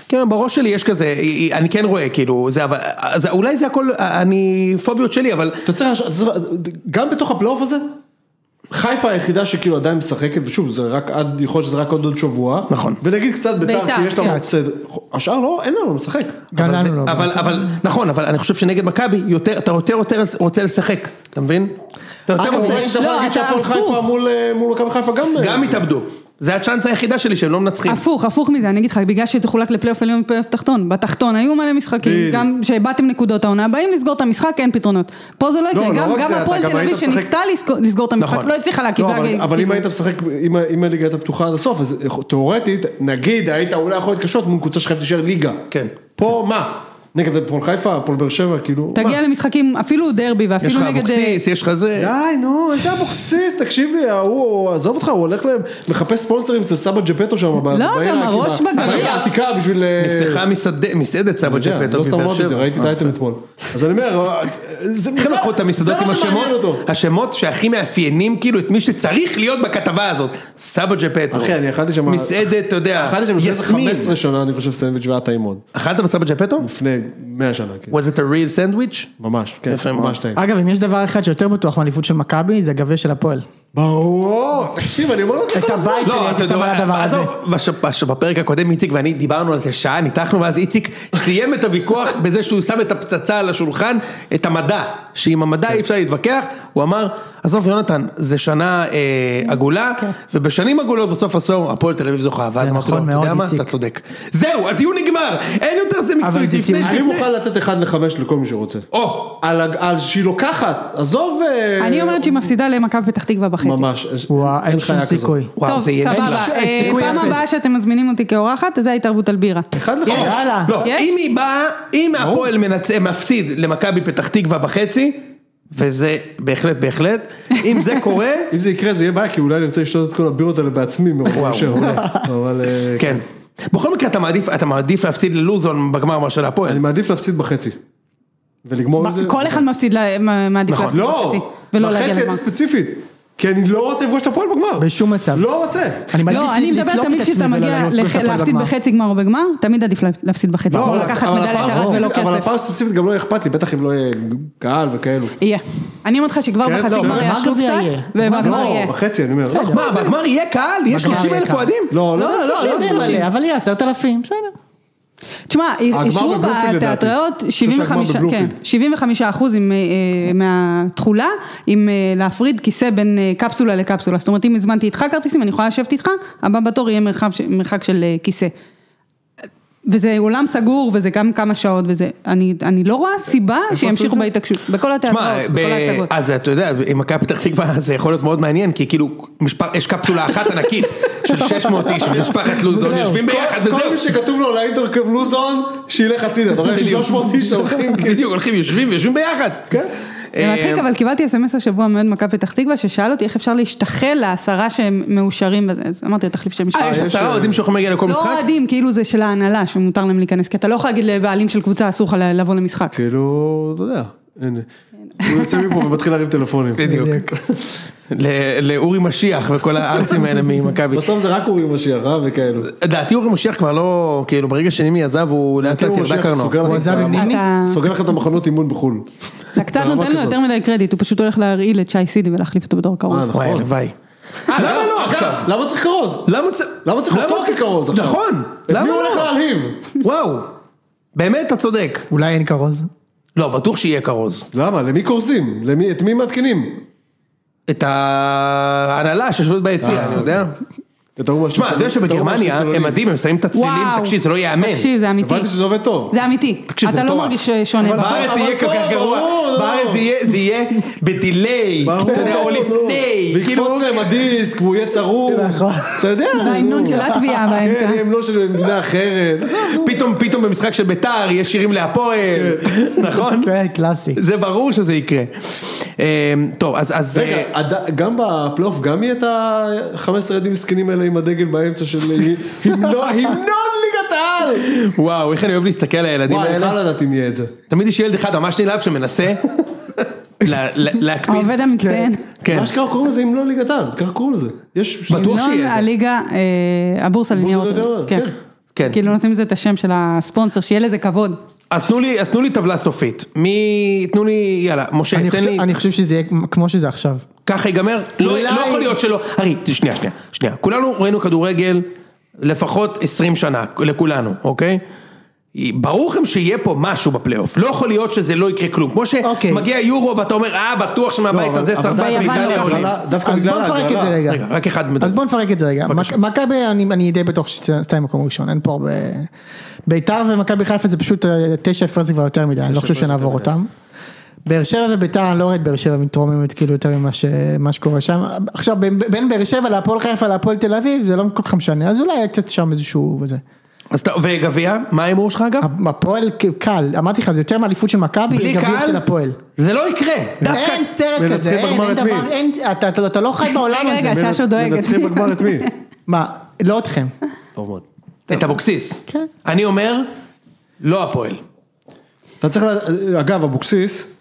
כן, בראש שלי יש כזה, אה, אה, אני כן רואה, כאילו, זה אבל, אז אולי זה הכל, אה, אני, פוביות שלי, אבל אתה צריך, אתה צריך- גם בתוך הפלייאוף הזה, חיפה היחידה שכאילו עדיין משחקת, ושוב, זה רק עד, יכול להיות שזה רק עוד עוד שבוע. נכון. ונגיד קצת ביתר, ביתר, כי יש לנו כן. עוד סדר. השאר לא, אין לנו לשחק. גם אבל, זה, לנו לא. אבל, אבל נכון, אבל אני חושב שנגד מכבי, יותר, אתה יותר יותר רוצה לשחק, אתה מבין? אתה יותר אגב, אוקיי. רוצה... אולי יש דבר לא, להגיד אתה שהפועל הפוך. חיפה מול אה, מול מכבי חיפה גם... אה, גם התאבדו, זה הצ'אנס היחידה שלי שהם לא מנצחים. הפוך, הפוך מזה, אני אגיד לך, בגלל שזה חולק לפלייאוף עליון ופלייאוף תחתון. בתחתון היו מלא משחקים, בדיוק. גם שהבעתם נקודות העונה, באים לסגור את המשחק, אין פתרונות. פה זה לא יקרה, לא גם- רק גם זה, אתה הפועל גם תל אביב היית משחק- שניסתה לסגור- לסגור את המשחק, נכון. לא הצליחה להקים. לא, אבל, אבל אם היית משחק, אם, אם הליגה הייתה פתוחה עד הסוף, אז תאורטית, נגיד היית אולי יכול להתקשות מול קבוצה שחייבת להישאר ליגה. כן. פה מה? נגד הפועל חיפה, הפועל באר שבע, כאילו, תגיע מה? למשחקים, אפילו דרבי יש לך ואפילו נגד... אה, אבוקסיס, יש לך זה. די, נו, איזה אבוקסיס, תקשיב לי, ההוא, עזוב אותך, הוא הולך ל... מחפש ספונסרים אצל סבא ג'פטו שם. ב- לא, בעיר גם העתיקה. הראש בגביע. בעיר העתיקה בשביל... אה, נפתחה מסעד- מסעדת סבא אתה יודע, ג'פטו. לא סתם בבאר אמרתי את זה, שבע. אה, ראיתי את האייטם אתמול. אז אני אומר, אה, זה איך הם כן, לקחו את המסעדות עם שמעניין השמות, אותו. השמות שהכי מאפיינים כאילו את מי שצריך להיות בכתבה הזאת, סבא ג'פטו. אחי, אני אכלתי שם- מסעדת, אתה יודע, אכלתי שם לפני איזה יסמין. 15 שנה, אני חושב, סנדוויץ' והיה טעים מאוד. אכלת בסבא ג'פטו? לפני לפני 100 שנה, כן. Was it a real sandwich? ממש, כן, יפה מאוד. ממש טעים. אגב, אם יש דבר אחד שיותר בטוח מאליפות של מכבי, זה הגביע של הפועל. ברור, תקשיב, אני אומר לו את זה את כל הזמן. לא, הבית שלי הייתי שם על הדבר הזה. עזוב, בש- בש- בפרק הקודם איציק ואני דיברנו על זה שעה, ניתחנו, ואז איציק סיים את הוויכוח בזה שהוא שם את הפצצה על השולחן, את המדע, שעם כן. המדע אי אפשר להתווכח, הוא אמר, עזוב יונתן, זה שנה אה, עגולה, ובשנים עגולות בסוף עשור הפועל תל אביב זוכה, ואז כן. זה אמרתי לו, נכון אתה יודע מאוד, מה, איציק." אתה צודק. זהו, הטיעון נגמר, אין יותר זה מקצועי, זה לפני טיעון. אני שלפני. מוכן לתת אחד לחמש לכל מי שרוצה. או, על הג- על שהיא לוקחת, עזוב... אה, אני אומרת שהיא מפסידה למכבי פתח תקווה בחצי. ממש, אה, וואו, אין שום חיה כזאת. סיכוי. וואו, טוב, זה יהיה נפלא. סבבה, אה, סיכוי פעם אפס. הבאה שאתם מזמינים אותי כאורחת, זה ההתערבות על בירה. אחד יש. לחמש. יאללה. לא, יש? אם היא באה, אם הפועל מנצ- מפסיד למכבי פתח תקווה בחצי, וזה בהחלט בהחלט, אם זה קורה, אם זה יקרה זה יהיה בעיה, כי אולי אני רוצה לשתות את כל הבירות האלה בעצמי מרוב וואו, מאשר. מעולה. אבל אה, כן. בכל מקרה אתה מעדיף, אתה מעדיף להפסיד ללוזון בגמר מאשר אני להפועל. מעדיף להפסיד בחצי. ולגמור עם זה. כל אחד מפסיד, ל- מה- מעדיף נכון. להפסיד לא, בחצי, ולא להגיע בחצי לגמר. הזה ספציפית. כי אני לא רוצה לפגוש את הפועל בגמר. בשום מצב. לא רוצה. אני מעדיף לא, אני לתלות מדברת את תמיד עצמי כשאתה ולא מגיע לעוף לח- כלפי להפסיד הגמר. בחצי גמר או בגמר, תמיד עדיף לה- להפסיד בחצי גמר, לא, אבל- לקחת אבל מדליית הפעם- כן, ארד ולא אבל לא כסף. הפעם ספציפית גם לא אכפת לי, בטח אם לא יהיה קהל וכאלו. יהיה. אני אומרת לך שכבר כן, בחצי לא, גמר בגמר יעשו גביע קצת, יהיה. ובגמר לא, יהיה. בחצי אני אומר. לא, בסדר. מה, בגמר יהיה קהל? יש בגמר 30 יהיה אלף קהל. אוהדים? לא, לא, לא, לא, לא יודע לא. מלא, אבל יהיה עשרת אלפים, בסדר. תשמע, הגמר אישרו בבלומפילד לדעתי. בתיאטראות חושב שהגמר 75 כן, בבלומפילד. 75 אחוז עם, אה, אה, מהתכולה, עם אה, להפריד כיסא בין אה, קפסולה לקפסולה. זאת אומרת, אם הזמנתי איתך כרטיסים, אני יכולה לשבת איתך, הבא בתור יהיה מרחב ש- מרחק של אה, כיסא. וזה אולם סגור, וזה גם כמה שעות, וזה, אני, אני לא רואה סיבה שימשיכו בהתעקשות, בכל התיאטראות, אה, תשמע, בכל ב- ההצגות. אז אתה יודע, עם מכבי פתח תקווה זה יכול להיות מאוד מעניין, כי כאילו, משפ- יש קפסולה אחת ענקית של 600 איש, משפחת לוזון, זהו. יושבים ביחד וזהו. כל מי שכתוב לו על האינטרקום לוזון, שילך הצידה, אתה רואה? 300 איש הולכים. בדיוק, הולכים, יושבים, יושבים ביחד. אה, כן. זה מצחיק, אבל קיבלתי אס.אם.אס השבוע מאוהד מכבי פתח תקווה, ששאל אותי איך אפשר להשתחל לעשרה שהם מאושרים, בזה. אז אמרתי לו, תחליף שם משפחה. אה, יש עשרה אוהדים שיכולים להגיע לכל לא משחק? אוהדים, כאילו זה של ההנהלה שמותר להם להיכנס, כי אתה לא יכול להגיד לבעלים של קבוצה אסור לך לבוא למשחק. כן. כאילו, אתה יודע, אין. הוא יוצא מפה ומתחיל להרים טלפונים. בדיוק. ל- לאורי משיח וכל הערסים האלה ממכבי. בסוף זה רק אורי משיח, אה? וכאלו. דעתי אורי משיח כבר לא, כאילו ברגע שנימי עזב הוא לאט לאט אורי ירדה כאילו משיח קרנו. סוגר הוא לך עזב את עם ה- ניני? אתה- סוגר לך את המחנות אימון בחו"ל. אתה קצת ברמה נותן לו כזאת. יותר מדי קרדיט, הוא פשוט הולך להרעיל את שי סידי ולהחליף אותו בדור אה, קרוב. נכון. וואי הלוואי. למה לא עכשיו? למה צריך כרוז? למה צ- למה צריך אותו ככרוז עכשיו? נכון, את למה מי הוא הולך לא? להלהיב? וואו, באמת אתה צודק. אולי אין כרוז. לא, בטוח שיהיה כרוז. למה? למי כורזים? למי- את מי מעדכנים? את ההנהלה שיושבת אה. ביציע, אני יודע. את ההוא מהשניצלים- תשמע, אתה יודע את ההוא שבגרמניה הם מהשניצלונים. מדהים, הם שמים את הצלילים, וואו. תקשיב, זה לא ייאמן. תקשיב, זה אמיתי. הבנתי שזה עובד טוב. זה אמיתי. תקשיב, זה אתה לא מטורף. מרגיש שונה. אבל- בארץ זה יהיה כל כך פה, ברור, גרוע, לא. בארץ זה יהיה- זה יהיה בדיליי, ברור, אתה יודע, או ברור. לפני, כאילו, ויקפוץ להם הדיסק והוא יהיה צרור. נכון. אתה יודע. לא- וההמנון נו. של לטביה באמצע. כן, המנון של מדינה אחרת. עזוב, נו. פתאום, פתאום במשחק של ביתר יש שירים להפועל, נכון? כן, קלאסי. זה ברור שזה יקרה. אה, טוב, אז, אז אה, רגע, הד- גם בפלייאוף גם יהיה את ה-15 ילדים מסכנים האלה עם הדגל באמצע של המנון המנון ליגת העל. וואו, איך אני אוהב להסתכל על הילדים וואי, אני האלה. חייב לדעת אם יהיה את זה. תמיד יש ילד אחד ממש נלהב שמנסה לה- לה- העובד להקפיץ. המצטיין. כן, מה שקרה קוראים לזה המנון ליגת העל, זה ככה קוראים לזה. יש... בטוח שיהיה המנון את זה. הליגה, אה, הבורסה לניירות. הבורסה לניירות, כן. כן. כן. כאילו נותנים לזה את השם של הספונסר, שיהיה לזה כבוד. אז תנו לי, אז תנו לי טבלה סופית. מי, תנו לי, יאללה, משה, אני תן חושב- לי, אני חושב שזה יהיה כמו שזה עכשיו. ככה ייגמר? לא אולי- לא יכול להיות שלא. ארי, שנייה, שנייה, שנייה. כולנו ראינו כדורגל לפחות 20 שנה, לכולנו, אוקיי? ברור לכם שיהיה פה משהו בפלייאוף, לא יכול להיות שזה לא יקרה כלום, כמו אוקיי. לא, שמגיע יורו ואתה אומר, אה, בטוח לא, שמהבית הזה צרפת אבל- ואיטליה אבל- עולים. ההגרלה- דווקא אז בגלל בוא נפרק את זה ההגרלה. רגע. רגע, רק אחד מדבר. אז בוא נפרק את זה רגע. בבקשה. מכ- מכבי, אני אני די בטוח שתיים מקום ראשון, אין פה הרבה... ביתר ומכבי חיפה זה פשוט אה, תשע הפרש זה כבר יותר מדי, אני לא חושב שנעבור אותם. באר שבע וביתר, אני לא רואה את באר שבע מתרוממת כאילו יותר ממה ש- מה שקורה שם. עכשיו, בין- בין באר שבע להפועל חיפה להפועל תל אביב, זה לא כל כך משנה, אז אולי היה קצת שם איזשהו... זה. אז אתה- וגביע, מה ההימור שלך אגב? הפועל כ- קל, אמרתי לך, זה יותר מאליפות של מכבי בלי לגביע של קהל? הפועל. זה לא יקרה, דווקא. אין סרט מנצחים כזה, אין, בגמר אין את דבר, מי? אין, אתה- אתה אתה לא חי בעולם רגע, הזה. רגע, ששו דואגת. מנצחים בגמר את מי? מה, לא אתכם. טוב מאוד. את אבוקסיס. כן. אני אומר, לא הפועל. אתה צריך, לה- אגב, אבוקסיס,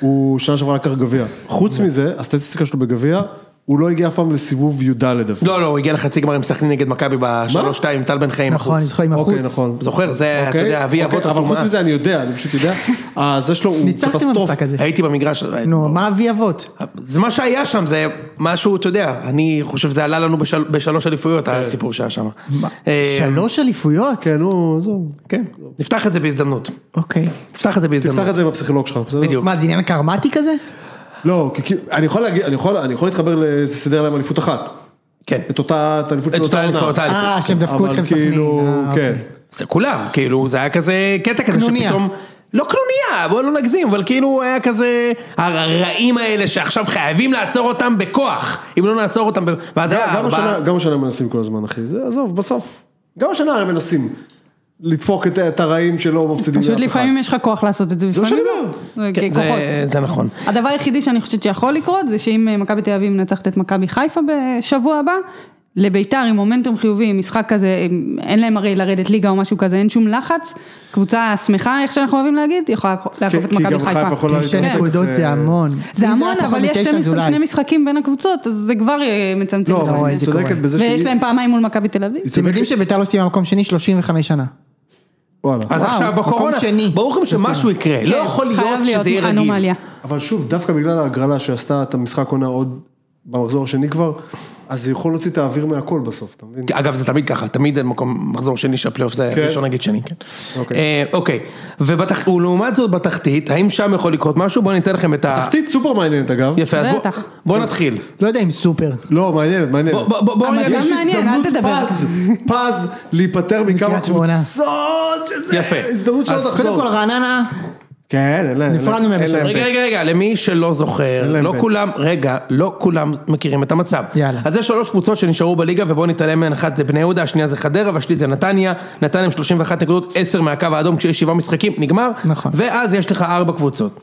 הוא שנה שעברה לקח גביע. חוץ מזה, הסטטיסטיקה שלו בגביע, הוא לא הגיע אף פעם לסיבוב י"ד אפילו. לא, לא, הוא הגיע לחצי גמר עם סכנין נגד מכבי בשלוש שתיים, טל בן חיים נכון, אני בחוץ. זוכר עם החוץ. אוקיי, נכון. זוכר, זה, אתה אוקיי, יודע, אבי אוקיי, אבות אבל חוץ התרומה. מזה אני יודע, אני פשוט יודע. אה, זה שלו הוא ניצחתם קטסטרופה. במשחק הזה. הייתי במגרש, נו, מה אבי אבות? זה מה שהיה שם, זה משהו, אתה יודע, אני חושב שזה עלה לנו בשל, בשלוש אליפויות, הסיפור שהיה שם. אה, שלוש אליפויות? כן, נו, זהו. כן, נפתח את זה בהזדמנות. אוקיי. נפתח את זה בהזדמנות. תפתח את זה עם הפסיכולוג שלך, בסדר? בדיוק. מה, זה עניין קרמטי כזה? לא, כי- כי אני יכול להגיד, אני יכול אני יכול להתחבר לזה סידר להם אליפות אחת. כן. את אותה, את האליפות את של אותה אותה אליפות, עונה. אותה אליפות. אה, שהם דפקו אבל אתכם סכנין. כאילו, אה, כן. אוקיי. זה כולם, כאילו, זה היה כזה קטע כזה קנוניה. שפתאום... לא קנוניה, בואו לא נגזים, אבל כאילו היה כזה הרעים האלה שעכשיו חייבים לעצור אותם בכוח, אם לא נעצור אותם, ב- ואז היה גם השנה, ארבעה, גם השנה מנסים כל הזמן, אחי. זה, עזוב, בסוף. גם השנה הם מנסים לדפוק את, את הרעים שלא מפסידים פשוט לאף אחד. לפעמים יש לך כוח לעשות את זה, זה מה שאני לפעמים לא. אומר. זה כן, כוחות. זה- זה נכון. הדבר היחידי שאני חושבת שיכול לקרות זה שאם אה, מכבי תל אביב מנצחת את מכבי חיפה בשבוע הבא, לביתר עם מומנטום חיובי, עם משחק כזה, עם- אין להם הרי לרדת ליגה או משהו כזה, אין שום לחץ, קבוצה שמחה, איך שאנחנו אוהבים להגיד, יכולה לעקוף את כי גם מכבי חיפה חיפה. יכולה אה, תשע להתרסק כן, נקודות אחרי- זה המון. זה אם המון, היה פחות אבל יש מתשע, שני זה משחק- אולי. שני משחקים בין הקבוצות, אז זה כבר אה, מצמצם את לא, אבל רואה היא את זה צודקת קורה. בזה ויש שהיא- להם פעמיים מול מכבי תל אביב. אתם יודעים שביתר לא סיימה מקום שני 35 שנה. וואלה. אז וואו, עכשיו מקום בקורונה, שני. ברור לכם שמשהו יקרה, לא כן, יכול חייב להיות להיות שזה יהיה רגיל. אנומליה. אבל שוב, דווקא בגלל ההגרלה שעשתה את המשחק עונה עוד במחזור השני כבר, אז זה יכול להוציא את האוויר מהכל בסוף, אתה מבין? אגב, זה תמיד ככה, תמיד מקום מחזור שני של הפלייאוף, זה כן. ראשון נגיד שני, כן. אוקיי. אה, אוקיי, ובתח- ולעומת זאת בתחתית, האם שם יכול לקרות משהו? בואו ניתן לכם את ה... תחתית סופר מעניינת אגב. אה. יפה, אז בואו- בטח. כן. בואו נתחיל. לא יודע אם סופר. לא, מעניינת, מעניינת. בואו- בואו- בואו המצב רגע- גם מעניין, אל תדבר. פז, פז, להיפטר מכמה מקריית שמונה. קבוצות, שזה יפה. הזדמנות אז שלא קודם תחזור. כל רעננה, כן, אין להם. נפרדנו מהם אין להם רגע, בית. רגע, רגע, למי שלא זוכר, להם לא בית. כולם, רגע, לא כולם מכירים את המצב. יאללה. אז יש שלוש קבוצות שנשארו בליגה ובואו נתעלם מהן, אחת זה בני יהודה, השנייה זה חדרה והשלישית זה נתניה, נתניה עם 31 נקודות, 10 מהקו האדום כשיש שבעה משחקים, נגמר. נכון. ואז יש לך ארבע קבוצות.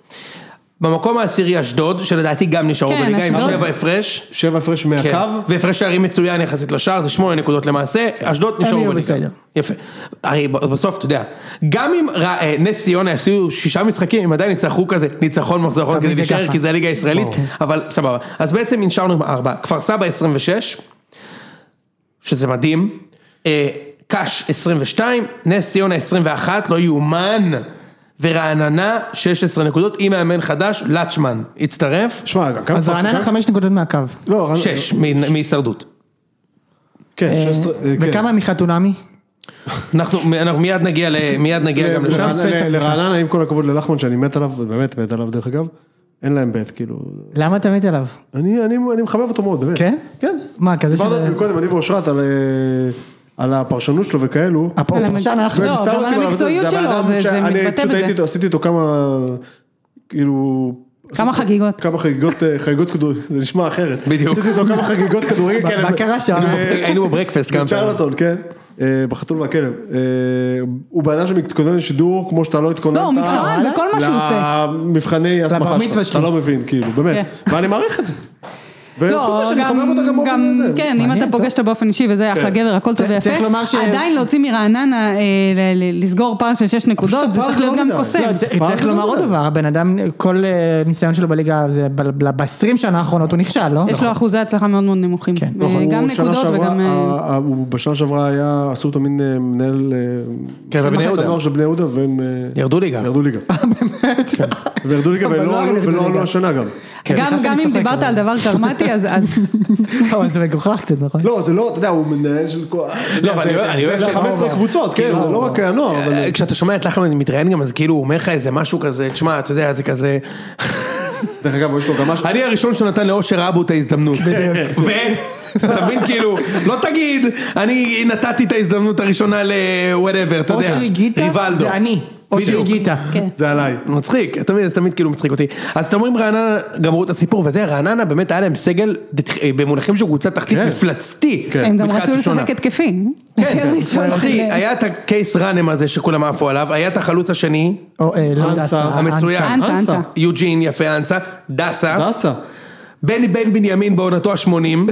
במקום העשירי אשדוד, שלדעתי גם נשארו כן, בליגה עם אשדוד. שבע הפרש. שבע הפרש כן. מהקו. והפרש שערים מצוין יחסית לשער, זה שמונה נקודות למעשה, אשדוד נשארו יהיו בליגה. כן. בסדר. יפה. הרי ב- בסוף, אתה יודע, גם אם ר- אה, נס ציונה הפסידו שישה משחקים, הם עדיין ניצחו כזה, ניצחון מחזור אחרון תמיד כדי זה להישאר, ככה. כי זה הליגה הישראלית, ברור. כן. אבל סבבה. אז בעצם נשארנו עם ארבע. כפר סבא 26, שזה מדהים. אה, קאש 22, נס ציונה 21, לא יאומן. ורעננה 16 נקודות, עם מאמן חדש, לצ'מן, הצטרף. שמע, גם כמה אז כפר רעננה סבא? חמש נקודות מהקו. לא, רעננה- שש, מ- מהישרדות. כן, שש עשרה, אה, כן. וכמה מחתונמי? אנחנו, אנחנו מיד נגיע, ל, מיד נגיע גם כן, לשם. לרעננה- פספסת לרעננה, עם כל הכבוד ללחמן, שאני מת עליו, באמת מת עליו דרך אגב, אין להם בית, כאילו. למה אתה מת עליו? אני אני- אני מחבב אותו מאוד, באמת. כן? כן. מה, כזה דיברנו על שזה- זה מקודם, אני ואושרת, על, אה, על הפרשנות שלו וכאלו. הפועל על המ- פרשן היה לא, והסתלבטתי אבל עליו, זה- המקצועיות זה שלו, הבן אדם זה- זה שאני מתבטא פשוט בזה. הייתי איתו, עשיתי איתו כמה, כאילו... כמה עשיתי- חגיגות. כמה חגיגות, אה, חגיגות כדורגל, זה נשמע אחרת. בדיוק. עשיתי איתו כמה חגיגות כדורגל מה- כאלה. מה קרה שם? אה, אוקיי, היינו בברקפסט כמה פעמים. בצ'רלטון, כן. אה, בחתול והכלב. אה, הוא בן אדם שמתכונן לשידור כמו שאתה לא התכוננת. לא, הוא מקצוען בכל מה שהוא עושה. למבחני הסמכה מצווה שלך, שלי. שאתה לא מבין, כאילו, באמת. כן. ואני מעריך את זה. לא, וחוץ מזה שאני מחבב אותה גם באופן הזה. כן, אם מעניין, אתה טוב. פוגש אותו באופן אישי וזה כן. אחלה גבר, הכל טוב צריך- ויפה, צריך לומר ש- עדיין להוציא מרעננה, אה, ל- ל- לסגור פער של 6 נקודות, זה הפער צריך להיות לא גם מדי. קוסם. לא, כן, צריך- פעם צריך זה לומר לא עוד עובד. דבר, הבן אדם, כל אה, ניסיון שלו בליגה, ב-20 שנה האחרונות הוא נכשל, לא? יש לו אחוזי הצלחה מאוד מאוד נמוכים. כן. אה, נכון. לא, הוא גם שנה נקודות שעברה, וגם... אה, ה- ה- הוא בשנה שעברה היה, עשו אותו מין אה, מנהל... אה, כן, בבני מחלקת יהודה. הנוער של בני יהודה, והם... אה, ירדו ליגה. ירדו ליגה. כן. וירדו ליגה אבל לא ולא עלו- ירדו ולא ליגה. עלו השנה גם. גם סליחה שאני גם אם צוחק, דיברת אבל- על דבר קרמטי, אז- אז אבל זה מגוחך קצת, נכון? לא, זה לא, אתה יודע, הוא מנהל של כל... לא, אבל אני אוהב- אני אוהב זה שהוא 15 אמר- קבוצות, כן, כאילו- זה לא רק הנוער, אבל... אה, כשאתה שומע את לחמן אני מתראיין גם, אז כאילו הוא אומר לך איזה משהו כזה, תשמע, אתה יודע, זה כזה, דרך אגב, יש לו גם משהו... אני הראשון שנתן לאושר אבו את ההזדמנות. ו... אתה מבין, כאילו, לא תגיד, אני נתתי את ההזדמנות הראשונה ל-whatever, אתה יודע, אושרי גיטה ריבלדו. זה אני, אושרי בדיוק. גיטה. כן. זה עליי. אה? מצחיק, אתה מבין, זה תמיד כאילו מצחיק אותי. אז אתם אומרים רעננה גמרו את הסיפור, וזה, רעננה באמת היה להם סגל דת- במונחים של קבוצה תחתית כן. מפלצתי. כן. הם גם בתחילת רצו ראשונה. לשחק התקפי. כן, ראשון אחי, של- היה את הקייס ראנם הזה שכולם עפו עליו, היה את החלוץ השני, או, אה, לא אנסה, דסה, המצוין. אנסה, אנסה. אנסה. יוג'ין, יפה אנסה, דסה, דסה. אה, בני בן בנימין בעונתו ה-80,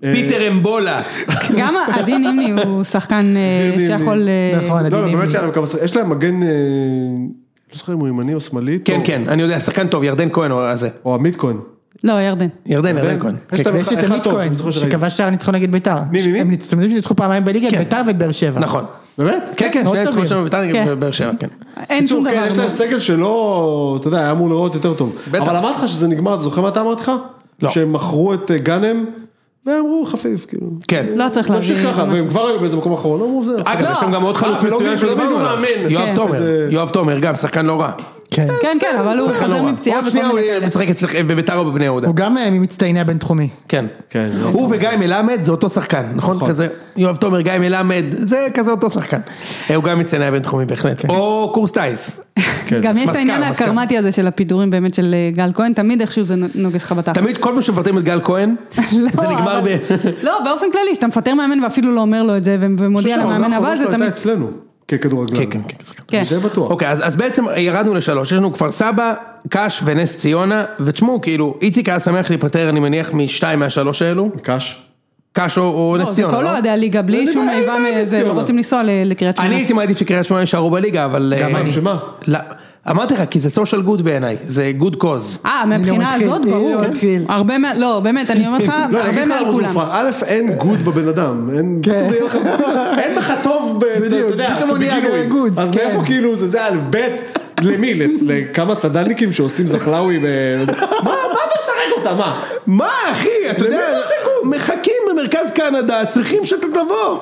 פיטר אמבולה, גם עדין אימני הוא שחקן אה, כן. עדין אימני. שיכול... אה, נכון, לא, לא, עדינים. באמת שהיה להם כמה... יש להם מגן... אה, לא זוכר אם הוא ימני או שמאלי. כן או- כן, אני יודע, שחקן טוב, ירדן כהן הוא הזה, או עמית כהן. לא, ירדן. ירדן ירדן כהן. יש כן, להם ויש אחד- את אחד עמית טוב, כהן, אני זוכר שראיתי. שכבש שער ניצחון נגד ביתר. מי, מי, מי? הם ניצ- אתם יודעים שניצחו פעמיים בליגה, את כן. ביתר ואת באר שבע. נכון. באמת? כן, כן, מאוד שני ניצחונות סביר. שלנו בית"ר נגד כן. באר שבע, כן. אין שום בקיצור, כן, יש דבר. לא. להם סגל שלא, אתה יודע, היה אמור לראות יותר טוב. בטח. אבל אמרתי לך שזה נגמר, אתה זוכר מה אתה אמרת לך? לא. שהם מכרו את אה, גאנם, והם אמרו חפיף, כאילו. כן. לא צריך להביא... נמשיך ככה, והם כבר היו באיזה מקום אחרון, לא אמרו זה. אגב, יש להם גם עוד חלוץ אה, ולא מצוין מי- ולא מי שדיברנו הוא מאמן. עליו. יואב כן. תומר, איזה- יואב תומר גם, שחקן לא רע. כן. כן, כן, אבל הוא שחקן לא חוזר רע. מפציעה עוד וכל שנייה הוא מיני כאלה. משחק אצלך- בביתר או בבני יהודה. הוא גם אה, ממצטייני הבינתחומי. כן. כן, הוא וגיא מלמד זה אותו שחקן, נכון? כזה, יואב תומר, גיא מלמד, זה כזה אותו שחקן. אה, הוא גם מצטייני הבינתחומי בהחלט. או קורס טיס. כן. גם יש את מזכר, העניין מזכר. הקרמטי הזה של הפיטורים באמת של אה, גל כהן, תמיד איכשהו זה נוגס לך בתחת. תמיד כל פעם שמפטרים את גל כהן, זה לא, נגמר אבל- ב... לא, באופן כללי, שאתה מפטר מאמן ואפילו לא אומר לו את זה, ו- ומודיע לא, למאמן הבא, זה הייתה תמיד... אצלנו, ככדורגלן. כן, כן, כן, שחקן. כן. זה בטוח. אוקיי, אז, אז בעצם ירדנו לשלוש, יש לנו כפר סבא, קאש ונס ציונה, ותשמעו, כאילו, איציק היה שמח להיפטר, אני מניח, משתיים מהשלוש האלו, קש. קאש או, או לא, נס זה ציונה, כל לא? אוהדי הליגה, בלי זה שום בעיה, איבה מה עם נס מזה, לא ציונה? רוצים לנסוע ל- לקריית שמונה. אני הייתי מעדיף שקריית שמונה יישארו בליגה, אבל... גם אה, אני, שמה? לא, אמרתי לך, כי זה סושיאל גוד בעיניי, זה גוד קוז. אה, מהבחינה מתחיל, הזאת, הנה ברור. הוא מתחיל. הרבה מה... לא, באמת, אני אומרת לך, לא, אני אגיד הרבה לך מעל למה זה כולם. מופרך. א', אין גוד בבן אדם. אין כן. פתאום יהיה לך- אין לך טוב, ב- אתה בדיוק, יודע, פתאום הוא נהיה בגילויים. גודס, אז כן. מאיפה כאילו זה, זה א', ב', למי? לצ- לכמה צד"לניקים שעושים זחלאווי ב... מה מה אתה משחק אותה? מה? מה, אחי, אתה למי זה יודע, עושה מחכים במרכז קנדה, צריכים שאתה תבוא.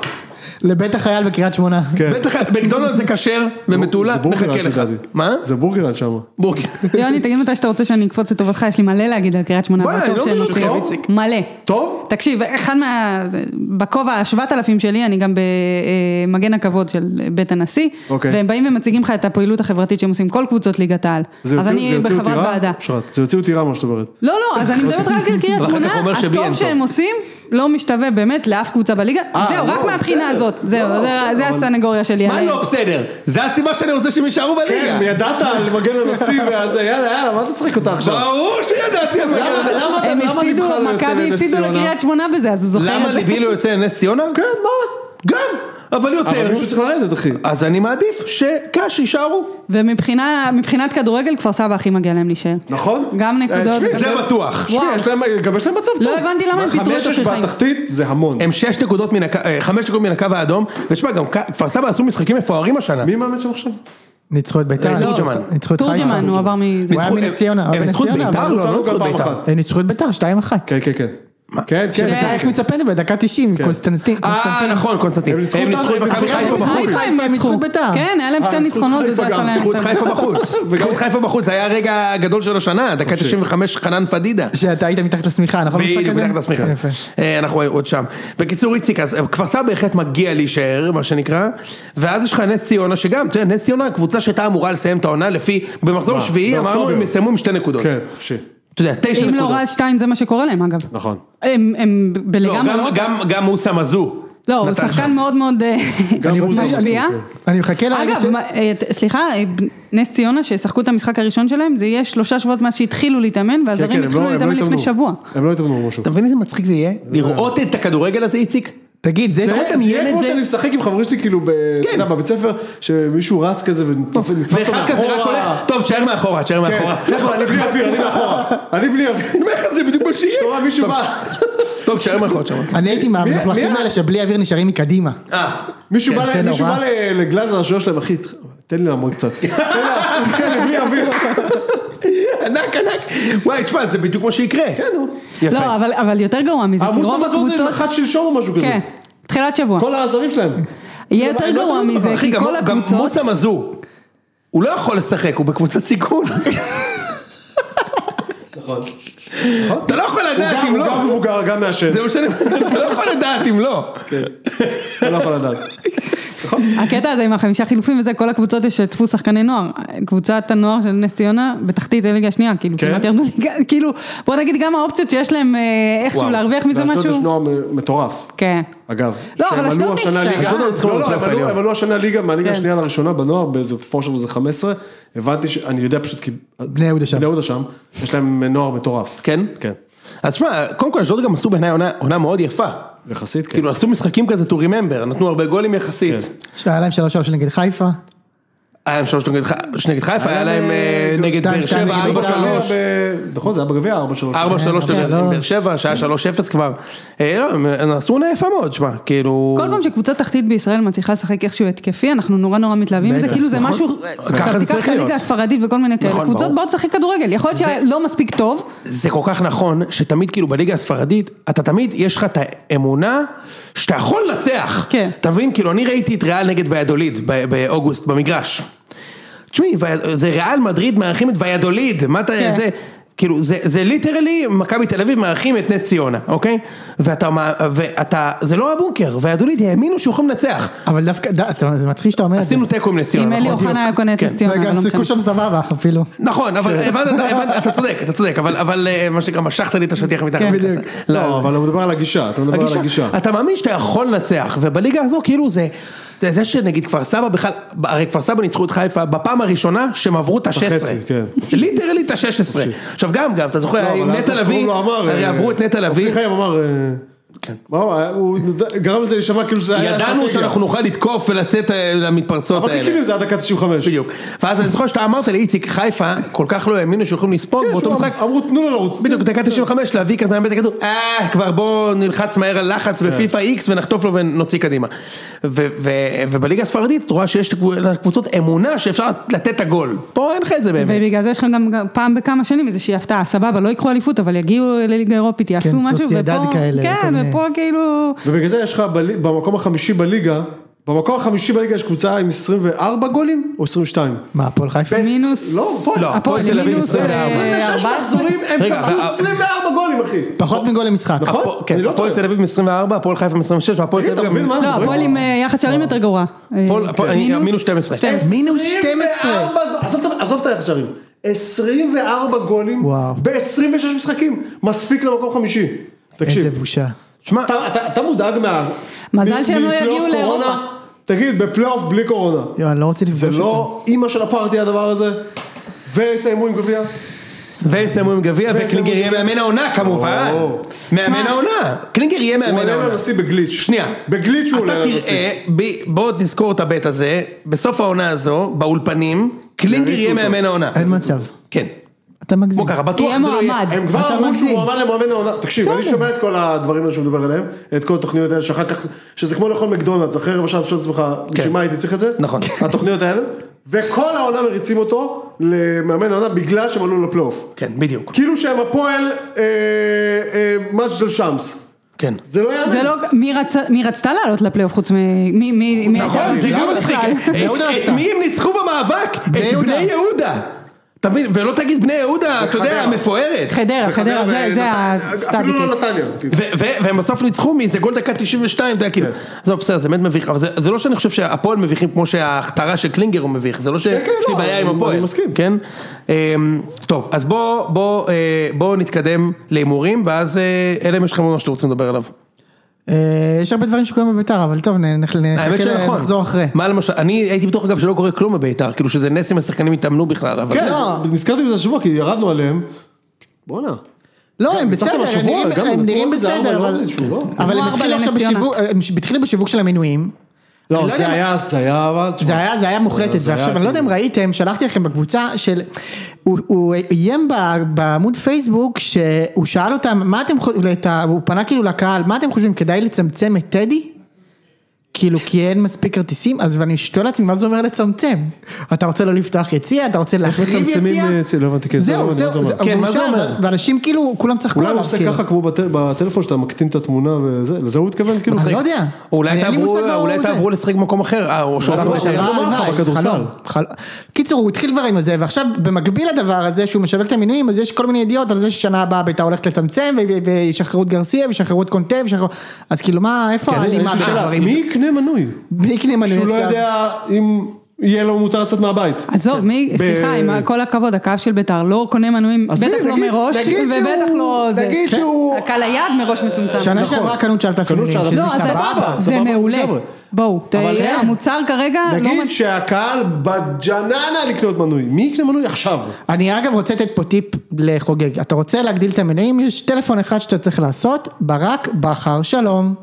לבית החייל בקריית שמונה. כן. בטח, מקדונלד זה כשר זה ומטולה, בורגרן מחכה לך. שדעתי. מה? זה בורגרן שם. בורגר. יוני, תגיד מתי שאתה רוצה שאני אקפוץ לטובתך, יש לי מלא להגיד על קריית שמונה, בואי, אבל אני טוב לא שהם מבין עושים. אותך, איציק. מלא. טוב? תקשיב, אחד מה... בכובע ה-7,000 שלי, אני גם במגן הכבוד של בית הנשיא, אוקיי. והם באים ומציגים לך את הפעילות החברתית שהם עושים, כל קבוצות ליגת העל. זה אז יוציא- זה אני יוציא אותי בחברת רע? ועדה. אושרת, זה יוציא אותי רע מה שאת אומרת. לא, לא, אז אני מדברת רק על קריית ואחר כך שמונה, הוא אומר שבי אין הטוב שהם טוב. עושים לא משתווה באמת לאף קבוצה בליגה, אה, זהו, לא, רק מהבחינה בסדר. הזאת, זהו, לא, זה- בסדר, זה אבל- הסנגוריה שלי. מה עליהם. לא בסדר? זה הסיבה שאני רוצה שהם יישארו בליגה. כן, ידעת על מגן הנשיא, ואז יאללה, יאללה, מה אתה משחק אותה עכשיו? ברור שידעתי על מגן למה- הנשיא. למה אתה- הם למה הפסידו, ליבך לא יוצא מכבי לנס הפסידו ציונה? לקריית שמונה בזה, אז הוא זוכר למה את זה. ליבי לא יוצא לנס ציונה? כן, מה? גם, אבל אבל יותר. מישהו צריך לרדת, אחי. אז אני מעדיף שקאש יישארו. ומבחינה מבחינת כדורגל, כפר סבא הכי מגיע להם להישאר. נכון? גם נקודות, אה, תשמעי, גם- זה בטוח. תשמעי, וואו. יש להם- גם יש להם מצב טוב. לא הבנתי למה הם מה, פיטרו את חמש-שש אביחי. בתחתית זה המון. הם שש נקודות מן הקו, אה, חמש נקודות מן הקו האדום, ותשמע, גם כ- כפר סבא עשו משחקים מפוארים השנה. מי מאמן שם עכשיו? ניצחו את ביתר. אה, לא, תורג'מן. ניצחו את תורג'מן, הוא עבר מ... הוא היה ניצחו- מנס ציונה, הם אבל ניצחו את נס ציונה, ביתר? אבל לא, לא אותנו ניצחו את גם פעם ביתר. אחת. הם אה, ניצחו את ביתר 2-1. כן, כן, כן. כן, כן. ביתר איך מצפנת בדקה 90, קונסטנטין. אה, קונסטנטין. נכון, קונסטנטין. הם ניצחו הם אותנו, ניצחו את הם מכבי ניצחו חיפה אותנו. בחוץ. חיפה הם ניצחו ניצחו. את ביתר. כן, היה להם אה, שתי ניצחו את ניצחונות, חיפה וזה גם, עשה להם... ניצחו את חיפה בחוץ. ניצחו את חיפה בחוץ, זה היה הרגע הגדול שלו השנה, דקה 95, חנן פדידה. שאתה היית מתחת לשמיכה, נכון? במשחק בדיוק, הזה? מתחת לשמיכה. יפה. אה, אנחנו עוד שם. בקיצור, איציק, אז אה, כפר סבא בהחלט מגיע להישאר, מה שנקרא, ואז יש לך נס ציונה, שגם, אתה יודע, נס ציונה, הקבוצה שהייתה אמורה לסיים את העונה לפי, במחזור מה, השביעי אמרנו, באוקטובר. הם יסיימו עם שתי נקודות. כן, חופשי. אתה יודע, תשע אם נקודות. לא רז שטיין זה מה שקורה להם אגב. נכון. הם- הם לא, בלגמרי... גם- לא- גם- גם מוסא מזו. לא, הוא נתן שם. שחקן מאוד מאוד... אה, גם הוא מצביע. זה עושה, אני מחכה לרגע ש... אגב, מה- אה, ת- סליחה, אה, ב- נס ציונה, שישחקו את המשחק הראשון שלהם, זה יהיה שלושה שבועות מאז שהתחילו להתאמן, כן, כן, והזרים הם לא- התחילו הם לא להתאמן לפני התאמנו. שבוע. הם לא התאמנו משהו. אתה מבין איזה מצחיק זה יהיה? לראות את הכדורגל הזה, איציק? תגיד, זה לא. זה שאתה זה יהיה מדמיין את כמו זה... שאני משחק עם חברים שלי כאילו ב- אתה יודע, בבית ספר, שמישהו רץ כזה ונתפס אותו כן. ואחד כזה רק הולך, טוב, תשאר מאחורה, תשאר כן, מאחורה. נכון, אני בלי אוויר, אני מאחורה. אני בלי אוויר. אני אומר לך, זה בדיוק מה שיהיה. אתה רואה מישהו בא, טוב, תשאר מאחורה, תשאר מאחורה. אני הייתי מי- מהמלוכלכים מי- האלה שבלי אוויר נשארים מקדימה. אה, מישהו בא זה ל- מישהו נורא. בא ל- לגלאזר, השוער שלהם, אחי, תן לי לעמוד קצת. תן לה- כן, אני בלי אוויר. ענק, ענק. וואי, תשמע, זה בדיוק מה שיקרה. כן, נו. יפה. לא, אבל- אבל יותר גרוע מזה, כי המוסר רוב מזור אה, לא זה הקבוצות... נחת שלשום או משהו כזה. כן, תחילת שבוע. כל הזרים שלהם. יהיה הם לא- יותר הם לא גרוע טובים מזה, בזה. אחי, כי גם- כל גם הקבוצות... מוסא מזור, הוא לא יכול לשחק, הוא בקבוצת סיכון. אתה לא יכול לדעת אם הוא לא. גם מבוגר, גם מעשן. זה מה שאני אומר, אתה לא יכול לדעת אם לא. אתה לא יכול לדעת. הקטע הזה עם החמישה חילופים וזה, כל הקבוצות ישתפו שחקני נוער. קבוצת הנוער של נס ציונה בתחתית הליגה השנייה, כאילו, כן? כמעט ירדו ליגה, כאילו, בוא נגיד גם האופציות שיש להם אה, איכשהו וואו. להרוויח מזה לאשדוד יש משהו. נוער מ- מטורף. כן. אגב, לא, שהם אבל עלו אשדוד השנה נשאר. ליגה, אשדוד ניצחו לא, לא, בפלייאוף הם עלו- העליון. הם עלו השנה ליגה, מהליגה כן. השנייה לראשונה בנוער, באיזה פור של איזה 15, הבנתי שאני יודע פשוט כי... בני יהודה שם. בני יהודה שם, יש להם נוער מטורף. כן? כן. אז שמע, קודם כל אשדוד גם עשו בעיניי עונה- עונה מאוד יפה. יחסית, כן. כאילו עשו משחקים כזה to remember, נתנו הרבה גולים יחסית. שהיה להם 3-3 נגד חיפה. היה להם שלוש נגד ח- נגד חיפה, היה להם אה, נגד שתיים, באר שתיים שבע, נגד ארבע בית"ר. שלוש. ב- נכון, זה היה בגביע 4-3 4-3. כן, נגד שלוש. באר שבע, שהיה 3-0 כבר. אה, לא, הם- הם עשו עונה יפה מאוד, שמע, כאילו... כל פעם שקבוצה תחתית בישראל מצליחה לשחק איכשהו התקפי, אנחנו נורא נורא מתלהבים מזה, כאילו זה משהו, נכון? ככה זה עכשיו צריך תיקח את להיות. הליגה הספרדית וכל מיני כאלה, נכון, קבוצות ברור. באות לשחק כדורגל, יכול להיות שלא מספיק טוב, זה כל כך נכון, שתמיד כאילו בליגה הספרדית, אתה תמיד, יש לך את האמונה שאתה יכול לנצח. כן. אתה מבין? כאילו, אני ראיתי את ריאל נגד ויאדוליד ב- באוגוסט במגרש. תשמעי, וי- זה ריאל מדריד מארחים את ויאדוליד, מה אתה, כן. זה, כאילו, זה, זה ליטרלי מכבי תל אביב מארחים את נס ציונה, אוקיי? ואתה, מה- ואתה, זה לא הבונקר, ויאדוליד האמינו שיכולים לנצח. אבל דווקא, ד- אתה- זה מצחיק שאתה אומר את זה. עשינו תיקו עם נס ציונה, אם נכון? אלי אוחנה היה קונה את כן. נס ציונה, רגע, לא משנה. סיכוי שם סבבה אפילו. נכון, אבל כן. הבנת, הבנת, אתה צודק, אתה צודק, אבל- אבל אה, מה שנקרא, משכת לי את השטיח מתחת. כן. לכס. לא, אבל הוא מדבר על הגישה, אתה מדבר על הגישה. אתה מאמין שאתה יכול לנצח, ובליגה הזו כאילו זה, זה, זה שנגיד כפר סבא בכלל, הרי כפר סבא ניצחו את חיפה בפעם הראשונה שהם עברו את ה-16. בחצי, כן. ליטרלי את ה-16. עכשיו גם, גם, אתה זוכר, לא, היה עם אבל אז נטע איך קוראים לביא, לו אמר, הרי אה, עברו את נטע לביא, אופיר חיים אמר, אה, מה הוא היה? הוא נד- גרם לזה להישמע כאילו שזה היה כן. ידענו אסטרטגיה. שאנחנו נוכל לתקוף ולצאת אה, למתפרצות אבל זה האלה. כאילו זה היה דקה 95. בדיוק. ואז אני זוכר שאתה אמרת לי, איציק, חיפה, כל כך לא האמינו שיכולים לספוג כן, באותו שהוא משחק. אמר- אמרו תנו לו לרוץ. בדיוק, דקה 95 להביא כזה מאבד את הכדור, אה, כבר בואו נלחץ מהר על כן. לחץ בפיפא איקס ונחטוף לו ונוציא קדימה. ו- ו- ובליגה הספרדית את רואה שיש לקבוצות אמונה שאפשר לתת את הגול. פה אין לך את זה באמת. ובגלל זה יש לכם גם פעם בכמה שנים איזושהי הפתעה, סבבה, לא יקחו אליפות, אבל יגיעו לליגה האירופית, כן, יעשו משהו, סוסיידד ופה, כאלה, וכל כן, מיני. ופה כאילו, ובגלל זה יש לך בלי- במקום החמישי בליגה, במקום החמישי בליגה יש קבוצה עם 24 גולים או 22? מה, הפועל חיפה? פס. מינוס, לא, הפועל- לא, הפועל הפועל, תל אביב מינוס, 24. אה, 26 14. מחזורים הם רגע, כבשו אה, אבל- 24 גולים אחי. פחות מגול למשחק. נכון? הפועל- כן, אני לא הפועל טועה. תל אביב עם 24, הפועל חיפה עם 26, והפועל תגיד, תל אתה אביב מבין עם... מה לא, אנחנו הפועל מדברים? עם אה, יחס לא. שערים יותר גרוע. אה, הפועל- הפועל- אני- מינוס- מינוס 12. 12. מינוס 12. 24 עזוב את ה- עזוב את היחס שערים. 24 גולים וואו. ב-26 משחקים. מספיק למקום חמישי. תקשיב. איזה בושה. שמע, אתה, אתה, אתה מודאג מה... מזל מ- שהם לא מפלייאוף יגיעו קורונה? לאירופה. תגיד, בפלייאוף בלי קורונה. יואו, אני לא רוצה לפגוש זה אותם. לא אימא של הפארטי הדבר הזה? ויסיימו עם גביע? ויסיימו עם גביע, ויסיימו וקלינגר עם יהיה גביע. מאמן העונה כמובן. או. מאמן שמע, העונה. קלינגר יהיה הוא מאמן עולה העונה. לנשיא בגליץ'. שנייה, בגליץ' הוא עולה אתה לנשיא. תראה, ב- בוא תזכור את הבט הזה, בסוף העונה הזו, באולפנים, קלינגר יריצו יהיה אותו. מאמן העונה. אין מצב. כן. אתה מגזים. בוא ככה, בטוח יהיה שזה לא מועמד. יהיה. הם כבר אתה אמרו שהוא מגזים. מועמד למאמן העונה, תקשיב, אני שומע את כל הדברים האלה שהוא מדבר עליהם, את כל התוכניות האלה שאחר כך, שזה כמו לאכול מקדונלדס, אחרי רבע שעה אתה שואל את עצמך, כן. בשביל מה הייתי צריך את זה? נכון. התוכניות האלה, וכל העונה מריצים אותו למאמן העונה בגלל שהם עלו לפלייאוף. כן, בדיוק. כאילו שהם הפועל אה, אה, מג'דל שמס. כן. זה לא יאמן. זה לא, מי רצה- מי רצתה לעלות לפלייאוף חוץ מ... מי- מי... מי נכון, הייתה זה מי גם מצחיק. לא בכלל? אה, יהודה את עשתה. מי הם ניצחו במאבק? את יהודה. בני יהודה. אתה מבין? ולא תגיד בני יהודה, אתה יודע, וחדרה. המפוארת. חדרה, חדרה, זה- זה אפילו הסטאביטס. לא נתניה. כאילו. ו- ו- והם בסוף ניצחו מאיזה גול דקה 92, אתה יודע, כן. כאילו, זה בסדר, זה באמת מביך, אבל זה- זה לא שאני חושב שהפועל מביכים כמו שההכתרה של קלינגר הוא מביך, זה לא שיש כן, לי לא, בעיה עם אני- הפועל, אני מסכים. כן? אמ, טוב, אז בואו בוא, אה, בוא נתקדם להימורים, ואז אה, אלה אם יש לכם משהו שאתם רוצים לדבר עליו. אה, יש הרבה דברים שקורים בביתר, אבל טוב, נ- נח- האמת נחכה שנכון. נכון. לחזור אחרי. מה למשל, אני הייתי בטוח אגב שלא קורה כלום בביתר, כאילו שזה נס אם השחקנים התאמנו בכלל, אבל... כן, לא. נזכרתי בזה השבוע כי ירדנו עליהם. בואנה. לא, הם ניצחתם בסדר, הם השבוע, נראים- גם הם נתנו נראים עוד איזה ארבע, בסדר, לא? אבל- איזשהו, לא? אבל הם עברו התחילו ארבע עכשיו לנס ציונה. בשיווק- הם התחילו בשיווק של המינויים. לא, יודע זה מה- היה, זה היה, אבל... זה היה, זה היה מוחלטת, זה היה ועכשיו אני לא כאילו- יודע אם ראיתם, שלחתי לכם בקבוצה של, הוא- הוא איים ב- בעמוד פייסבוק, שהוא שאל אותם, מה אתם חושבים, הוא פנה כאילו לקהל, מה אתם חושבים, כדאי לצמצם את טדי? כאילו כי אין מספיק כרטיסים, אז ואני שואל לעצמי, מה זה אומר לצמצם? אתה רוצה לא לפתוח יציע, אתה רוצה להחריב מצמצמים יציע? יציע? לא הבנתי, כן, זה לא זהו, הבנתי, מה זה זהו, אומר. אבל כן, הוא מה זה שאל, אומר? ואנשים כאילו, כולם צחקו אולי הוא עליו, עושה כאילו. ככה כמו בטל- בטלפון שאתה מקטין את התמונה וזה, לזה הוא התכוון? כאילו, אני לא יודע. אולי אני- אין לי תעברו, מושג מה הוא אולי זה. תעברו לשחק במקום אחר, אה, או שעוברים אבל לשחק- אבל- הלוואי, במאחה, הלוואי, בכדורסל. אה, חלום, חל- קיצור, הוא התחיל כבר עם הזה, ועכשיו במקביל לדבר הזה שהוא משווק את המינויים, אז יש כל מיני ידיעות על זה ששנה הבאה בית"ר הולכת לצמצם, ו- ו- וישחררו את גרסיה, וישחררו את קונטה, וישחררו... אז כאילו מה, איפה כן, אני- לא ההלימה יש לי בין שאלה, הדברים? מי יקנה מנוי? מי יקנה מנוי שהוא לא עכשיו? יודע אם יהיה לו מותר לצאת מהבית. עזוב, מי, ב- סליחה, עם כל הכבוד, הקו של ביתר לא קונה מנויים, אז בטח הנה, לא נגיד- מראש, נגיד ובטח שהוא- לא זה. נגיד כן. שהוא- הקהל היעד מראש מצומצם. שנה שעברה קנו 9,000 נכון. קנו 9,000, מנויים, שזה לא, אז סבבה. זה סבבה מעולה. לגמרי. בואו, אבל תהיה- איך? המוצר כרגע לא... נגיד מת- שהקהל בג'ננה לקנות מנוי, מי יקנה מנוי עכשיו? אני אגב רוצה לתת פה טיפ לחוגג. אתה רוצה להגדיל את המנויים, יש טלפון אחד שאתה צריך לעשות, ברק בכר שלום.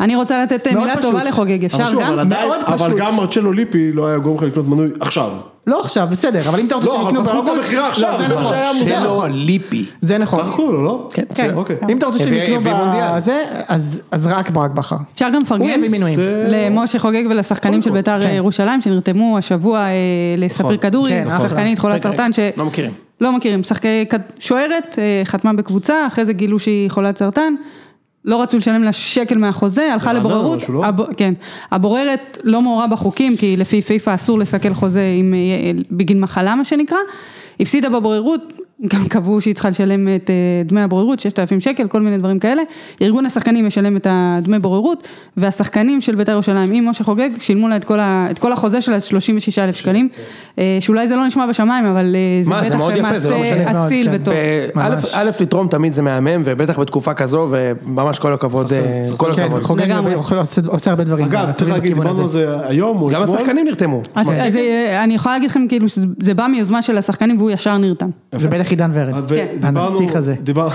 אני רוצה לתת אה, מאוד מילה טובה פשוט. לחוגג, אפשר אבל שוב, גם? אבל עדיין- מאוד אבל פשוט. גם מרצ'לו ליפי לא היה גורם לך לקנות מנוי עכשיו. לא עכשיו, בסדר, אבל אם אתה רוצה לא, אבל שהם יקנו פתחו את בערוץ- המכירה לא, עכשיו, זה מה נכון. שהיה זה מוזר. נכון. ליפי. זה נכון. פתחו לו, לא? כן, כן. בסדר, אוקיי. אם אתה רוצה שהם הביא- יקנו הביא מונדיאל. בזה, אז- אז רק ברק בכר. אפשר גם הוא לפרגן? יביא מינויים. זה- למשה חוגג ולשחקנים של בית"ר אה, כן. ירושלים שנרתמו השבוע אה, לספיר כדורי, כן, נכון. שחקנית חולת רגע, רגע, סרטן ש... לא מכירים. לא מכירים, שחקי... כד- שוערת, אה, חתמה בקבוצה, אחרי זה גילו שהיא חולת סרטן. לא רצו לשלם לה שקל מהחוזה, הלכה ברעננה לבוררות, משהו, לא? הב- כן, הבוררת לא מעורה בחוקים, כי לפי פיפ"א אסור לסכל חוזה עם, אה, בגין מחלה מה שנקרא, הפסידה בבוררות, גם קבעו שהיא צריכה לשלם את אה, דמי הבוררות, 6,000 שקל, כל מיני דברים כאלה, ארגון השחקנים משלם את הדמי בוררות, והשחקנים של בית"ר ירושלים עם משה חוגג, שילמו לה את כל, ה, את כל החוזה שלה, 36,000 שקלים, כן. אה, שאולי זה לא נשמע בשמיים, אבל אה, זה מה, זה בטח מאוד יפה, זה לא מעשה משנה. אציל מאוד, כן. וטוב. ב- א', ממש. א', לתרום תמיד זה מהמם, ובטח בתקופה כזו, וממש כל הכבוד, אה, כל כן, הכבוד. נכון. חוגג לגמרי. יכול- עושה- עושה הרבה דברים. אגב, צריך טובים להגיד, בכיוון דיברנו על הזה. זה היום או גם אתמול. השחקנים נרתמו. אז, אז אה, אני יכולה להגיד לכם כאילו שזה בא מיוזמה של השחקנים והוא ישר נרתם. זה בטח עידן ורד. ו- כן. דיברנו- הנסיך הזה. אה, דיבר-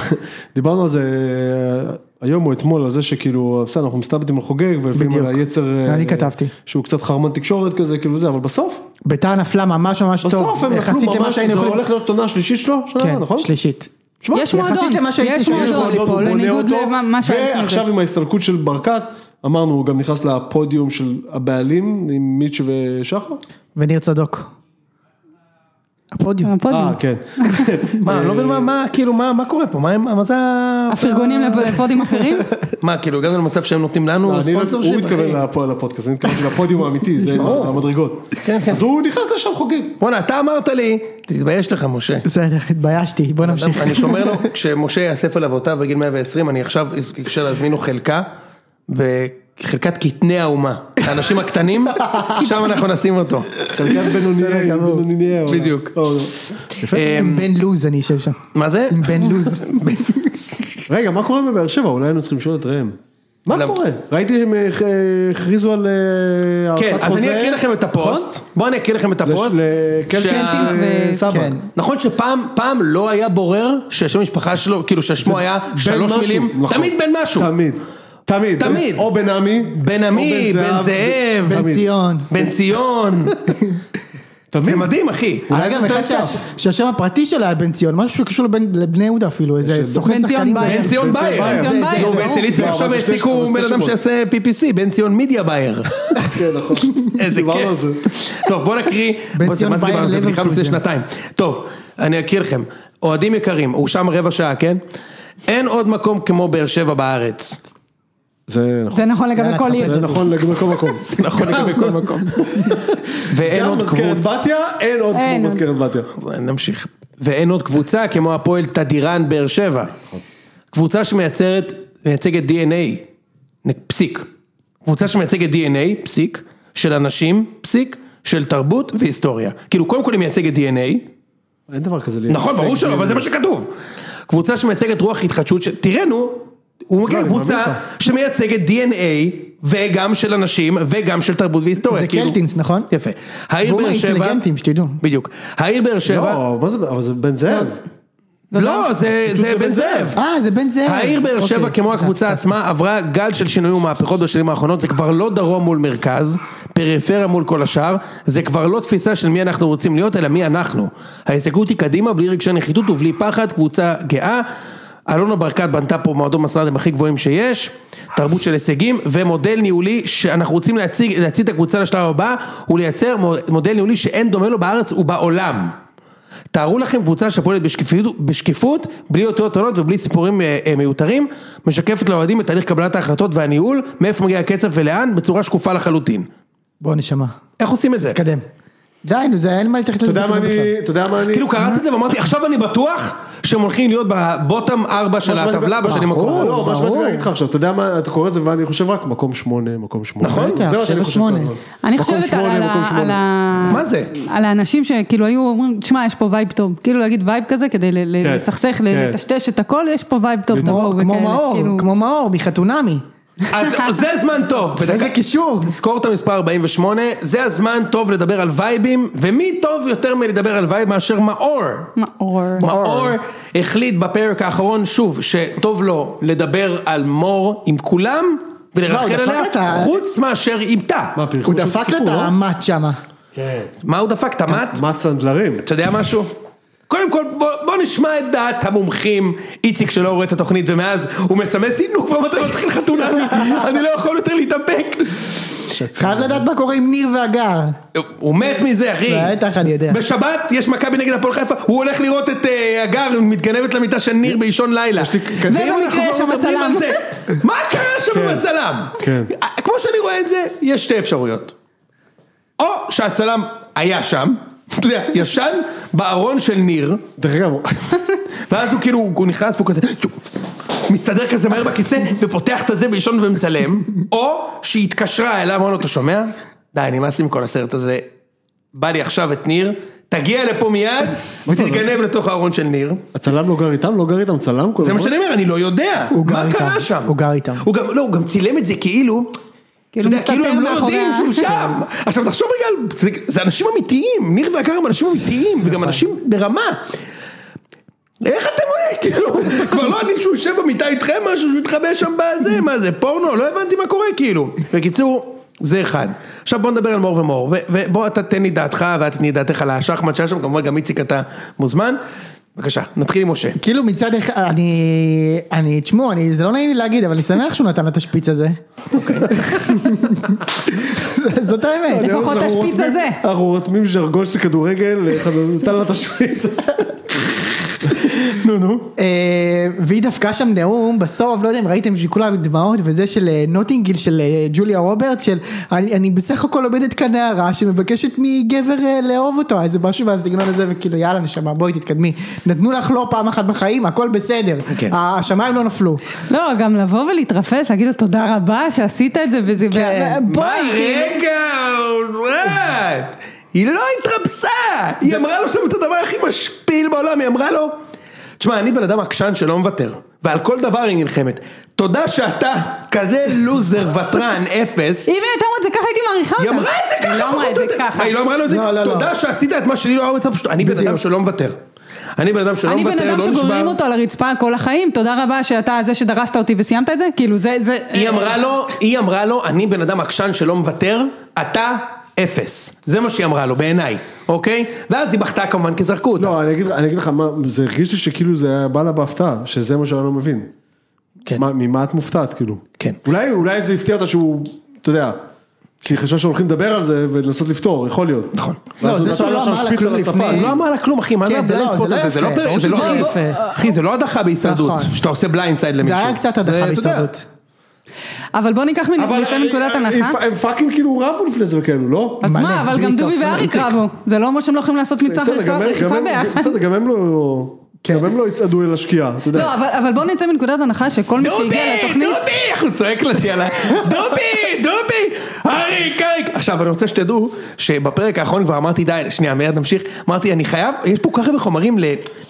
דיברנו על זה אה, היום או אתמול, על זה שכאילו, בסדר, אנחנו מסתלבטים על חוגג, ולפעמים על בדיוק. היצר... אה, אני כתבתי. שהוא קצת חרמן תקשורת כזה, כאילו זה, אבל בסוף, ביתר נפלה ממש ממש טוב. בסוף הם נפלו יחסית למה ממש, שהיינו זה יכולים- הולך להיות עונה שלישית שלו, שנה הבאה, כן, נכון? שלישית. תשמע, יש מועדון, יחסית למה שהייתי יש שומע, יש מועדון, מועדון, הוא בונה בניגוד אותו, למה- מה שהיה לפני ועכשיו זה. עם ההסתלקות של ברקת, אמרנו, הוא גם נכנס לפודיום של הבעלים עם מיץ' ושחר? וניר צדוק. הפודיום. הפודיום. אה, כן. מה, אני לא מבין מה- מה, כאילו, מה מה קורה פה? מה הם- מה זה ה... הפרגונים לפודים אחרים? מה, כאילו, הגענו למצב שהם נותנים לנו אני לא- ספונסר הוא התכוון לפ- לפודקאסט, אני התכוונתי לפודיום האמיתי, זה המדרגות. כן, אז הוא נכנס לשם חוגג. בואנה, אתה אמרת לי, תתבייש לך, משה. בסדר, התביישתי, בוא נמשיך. אני שומר לו, כשמשה יאסף על אבותיו בגיל 120, אני עכשיו אקשר להזמין לו חלקה, בחלקת קטני האומה. האנשים הקטנים, שם אנחנו נשים אותו. חלקת בינוניה, בינוניה. או- בדיוק. או- עם בן לוז אני אשב שם. אמ, מה זה? עם בן לוז. רגע, מה קורה בבאר שבע? אולי היינו צריכים לשאול את ראם. מה למ- קורה? ראיתי שהם אה, אה, הכריזו על אה, כן, הארכת אז אני חוזה. אקריא לכם את הפוסט. בואו אני אקריא לכם את נכון? הפוסט. לש- לקלטינס שה- וסבא. כן. נכון שפעם פעם לא היה בורר שהשם המשפחה שלו, כאילו שהשמו היה שלוש משהו, מילים, נכון. תמיד בן משהו. תמיד. תמיד. תמיד. או בן עמי. בן עמי, או בן זאב, בן תמיד. ציון. בן ציון. זה מדהים אחי. אולי אגב, זה תנאי אחד שה- סף. שהשם הפרטי שלו היה בן ציון, משהו שקשור לבן- לבני יהודה אפילו, איזה סוכן בן ציון שחקנים. בייר. בן ציון בן ציון בייר. בייר. בן ציון בייר. נו, ואצל איציק לא, אבל עכשיו זה שתי העסיקו בן שמות, שתי אדם שמות. שעושה PPC, בן ציון מידיה בייר. כן, נכון. איזה דיברנו על כיף. זה. טוב, בוא נקריא. בן בוא, ציון מה זה בייר דיברנו? זה בדיחה מלפני לברקוזן. שנתיים. טוב, אני אקריא לכם. אוהדים יקרים, הוא שם רבע שעה, כן? אין עוד מקום כמו באר שבע בארץ. זה נכון. זה נכון לגבי יאללה, כל תחפש עיר. זה נכון לגבי כל מקום. זה נכון לגבי כל מקום. ואין גם כן, עוד מזכרת קבוצה. בתיה, אין עוד אין כמו עוד. מזכרת בתיה. נמשיך. ואין עוד קבוצה כמו הפועל תדירן באר שבע. קבוצה שמייצרת, מייצגת DNA, נ- פסיק. קבוצה שמייצגת DNA, פסיק, של אנשים, פסיק, של תרבות והיסטוריה. כאילו, קודם כל היא מייצגת DNA, אין דבר כזה. נכון, ברור שלא, אבל זה מה שכתוב. קבוצה שמייצגת רוח התחדשות, ש- תראה נו, הוא מגיע לא, אני לקבוצה מאמין שמייצגת DNA, וגם של אנשים, וגם של תרבות והיסטוריה. זה כאילו- קלטינס, נכון? כן, יפה. העיר והוא באר שבע... מהאינטליגנטים, שתדעו. בדיוק. העיר באר שבע... לא, מה זה, אבל זה בן זאב. לא, זה זה בן זאב. כן, אה, זה בן זאב. העיר באר אוקיי, שבע, כמו סליחה, הקבוצה סליחה. עצמה, עברה גל של שינויים ומהפכות בשנים האחרונות, זה כבר לא דרום מול מרכז, פריפריה מול כל השאר, זה כבר לא תפיסה של מי אנחנו רוצים להיות, אלא מי אנחנו. ההסתכלות היא קדימה, בלי רגשי נחיתות ובלי פחד, קבוצה גאה. אלונה ברקת בנתה פה מועדון מסרדים הכי גבוהים שיש, תרבות של הישגים ומודל ניהולי שאנחנו רוצים להציג, להציג את הקבוצה לשלב הבא ולייצר מודל ניהולי שאין דומה לו בארץ ובעולם. תארו לכם קבוצה שפועלת בשקיפות, בשקיפות בלי אותיות עולות ובלי סיפורים אה, אה, מיותרים, משקפת לאוהדים את תהליך קבלת ההחלטות והניהול, מאיפה מגיע הקצב ולאן, בצורה שקופה לחלוטין. בוא נשמע. איך עושים את זה? תקדם. די, נו, זה אין מה להתייחס אתה לזה יודע מה ברצינות בכלל. אני, אתה יודע מה אני, כאילו קראתי את זה ואמרתי, עכשיו אני בטוח שהם הולכים להיות בבוטם 4 של מה שבאתי- הטבלה בשנים ברור, הקרובות. לא, מה שבאתי ברור. להגיד לך עכשיו, אתה יודע מה, אתה קורא את זה ואני חושב רק מקום שמונה, מקום שמונה. נכון, זה מה שאני חושב שבע, כל שמונה. הזמן. אני מקום חושבת על שמונה, ה- מקום על שמונה. ה... מה זה? על האנשים שכאילו היו אומרים, תשמע, יש פה וייב טוב. כאילו להגיד וייב כזה כדי ל- ל- כן, לסכסך, ל- כן. לטשטש את הכל, יש פה וייב טוב, כמו תבואו כמו וכאלה. מאור, אוקיי, כאילו- כמו מאור מחתונמי. אז זה זמן טוב. איזה קישור. תזכור את המספר 48, זה הזמן טוב לדבר על וייבים, ומי טוב יותר מלדבר על וייב מאשר מאור. מאור. מאור החליט בפרק האחרון, שוב, שטוב לו לדבר על מור עם כולם, ולרחל הוא דפק עליה, את ה- חוץ מאשר עם תא. מה, פרחו הוא שם דפק לה את סיפור, לא? המט שמה. מה הוא דפק? תמת? מה צנדלרים? אתה יודע משהו? קודם כל בוא, בוא נשמע את דעת המומחים, איציק שלא רואה את התוכנית ומאז הוא מסמס, הנה הוא כבר מתי מתחיל חתונה, אני לא יכול יותר להתאפק. חייב לדעת מה קורה עם ניר והגר. הוא מת מזה אחי. בטח, אני יודע. בשבת יש מכבי נגד הפועל חיפה, הוא הולך לראות את אה, הגר מתגנבת למיטה של ניר באישון לילה. ואם אנחנו ובמקרה יש כבר שם מדברים הצלם. על זה, מה קרה שם עם הצלם? כן. אה, כמו שאני רואה את זה, יש שתי אפשרויות. או שהצלם היה שם, אתה יודע, ישן בארון של ניר. דרך אגב, ואז הוא כאילו, הוא נכנס והוא כזה, מסתדר כזה מהר בכיסא, ופותח את הזה באישון ומצלם, או שהיא התקשרה אליו, אמרה לו, אתה שומע? די, נמאס לי מכל הסרט הזה, בא לי עכשיו את ניר, תגיע לפה מיד, ותתגנב לתוך הארון של ניר. הצלם לא גר איתם? לא גר איתם צלם? כל זה מה הזמן? שאני אומר, אני לא יודע, נכון. הוא גר מה איתם, קרה שם? הוא גר איתם. הוא גם, לא, הוא גם צילם את זה כאילו, כאילו אתה יודע, כאילו מסתתר כן. הם לא מאחורי יודעים ה- שהוא שם. עכשיו תחשוב רגע, על- זה, זה אנשים אמיתיים, ניר והגר הם אנשים אמיתיים, נכון. וגם אנשים ברמה. איך אתם רואים, כאילו, כבר לא עדיף שהוא יושב במיטה איתכם משהו, שהוא יתחבא שם בזה, מה זה, פורנו, לא הבנתי מה קורה כאילו. בקיצור, זה אחד. עכשיו בוא נדבר על מור ומור, ו- ובוא אתה תן לי דעתך ואת תתני דעתך על השחמט שהיה שם, כמובן גם איציק אתה מוזמן. בבקשה, נתחיל עם משה. כאילו מצד אחד, אני, אני, תשמעו, אני, זה לא נעים לי להגיד, אבל אני שמח שהוא נתן לה את השפיץ הזה. אוקיי. ז- זאת האמת. לפחות אנחנו השפיץ רותמים- הזה. אנחנו רותמים ז'רגון של כדורגל, אחד נתן לה את השפיץ הזה. נו נו. אה, והיא דפקה שם נאום, בסוף, לא יודע אם ראיתם שכולם עם דמעות, וזה של אה, נוטינגיל של אה, ג'וליה רוברט, של אני, אני בסך הכל עומדת כאן נערה שמבקשת מגבר אה, לאהוב אותו, איזה משהו מהסגנון הזה, וכאילו יאללה נשמה, בואי תתקדמי. נתנו לך לא פעם אחת בחיים, הכל בסדר. כן. השמיים לא נפלו. לא, גם לבוא ולהתרפס, להגיד לו תודה רבה שעשית את זה וזה, כן. ו- מה, אה? בואי, כאילו, רגע, אורט. היא לא התרפסה, היא אמרה לו שם את הדבר הכי משפיל בעולם, היא אמרה לו, תשמע, אני בן אדם עקשן שלא מוותר, ועל כל דבר היא נלחמת. תודה שאתה כזה לוזר ותרן אפס. אם היא הייתה אומרת זה ככה הייתי מעריכה אותה. היא אמרה את זה היא לא ככה, אמרה פחות את או זה יותר. ככה. מה, היא לא אמרה לו את זה? לא, לא, לא. תודה שעשית את מה שלי לא אמרה, פשוט, אני בן אדם בדיוק. שלא מוותר. אני בן אדם שלא אני מוותר, לא בן נשבר. אדם שגוררים אותו על הרצפה כל החיים, תודה רבה שאתה זה שדרסת אותי וסיימת את זה, כאילו זה, זה... היא אמרה לו, היא אמרה לו, אני בן אדם עקשן שלא מוותר, אתה אפס. זה מה שהיא אמרה לו, בעיניי, אוקיי? ואז היא בכתה כמובן כי זרקו אותה. לא, אני אגיד לך- אני אגיד לך, מה, זה הרגיש לי שכאילו זה היה בא לה בהפתעה, שזה מה שאני לא מבין. כן. מה- ממה את מופתעת כאילו? כן. אולי אולי זה הפתיע אותה שהוא, אתה יודע, שהיא חשבה שהולכים לדבר על זה ולנסות לפתור, יכול להיות. נכון. ואז לא, הוא זה נתן שהוא לה לא שם אמר לה שפיץ כלום על הספה. לפני. לא אמר לה כלום אחי, מה כן, זה זה לא- הבליינד זה ספוט לא הזה? זה לא יפה. פרק, ברור זה לא שזה לא אחי, יפה. אחי, זה לא הדחה בהישרדות, נכון. שאתה עושה בליינד סייד זה למישהו. היה קצת הדחה זה- אתה יודע, בהישרדות. אבל בוא ניקח מנ- נצא מנקודת הם- הנחה. הם פאקינג כאילו רבו לפני זה וכאלו, לא? אז מלא, מה, אבל בלי גם סוף, דובי לא ואריק איציק. רבו, זה לא אומר שהם לא יכולים לעשות מצרך בסדר, גם הם- רכיבה גם הם- ביחד. בסדר, גם הם לא... כן. גם הם לא יצעדו אל השקיעה, אתה יודע. לא, אבל- אבל בוא נצא מנקודת הנחה שכל מי שהגיע דובי, לתוכנית... דובי, איך הוא צועק לה שהיא עלה, דובי, דובי, אריק, אריק. עכשיו אני רוצה שתדעו שבפרק האחרון כבר אמרתי די, שנייה, מיד נמשיך, אמרתי אני חייב, יש פה כל כך הרבה חומרים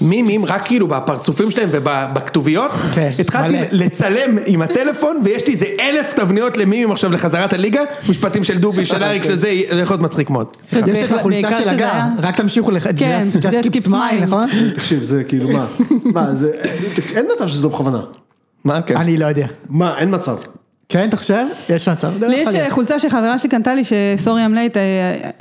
למימים, רק כאילו בפרצופים שלהם ובכתוביות, כן, התחלתי מלא. לצלם עם הטלפון ויש לי איזה אלף תבניות למימים עכשיו לחזרת הליגה, משפטים של דובי, אוקיי. של אריק, של זה, זה יכול להיות מצחיק מאוד. יש לך חולצה בעיקר של שזה הגר, היה- רק תמשיכו לך, כן, just- just just keep keep smile, smile. נכון? תקשיב, זה כאילו מה? מה, זה... אין מצב שזה לא בכוונה. מה כן? אני לא יודע. מה, אין מצב. כן, אתה חושב? יש מצב. לא לי יש אה, יכול להיות. חולצה שחברה שלי קנתה לי שסורי אמלייט,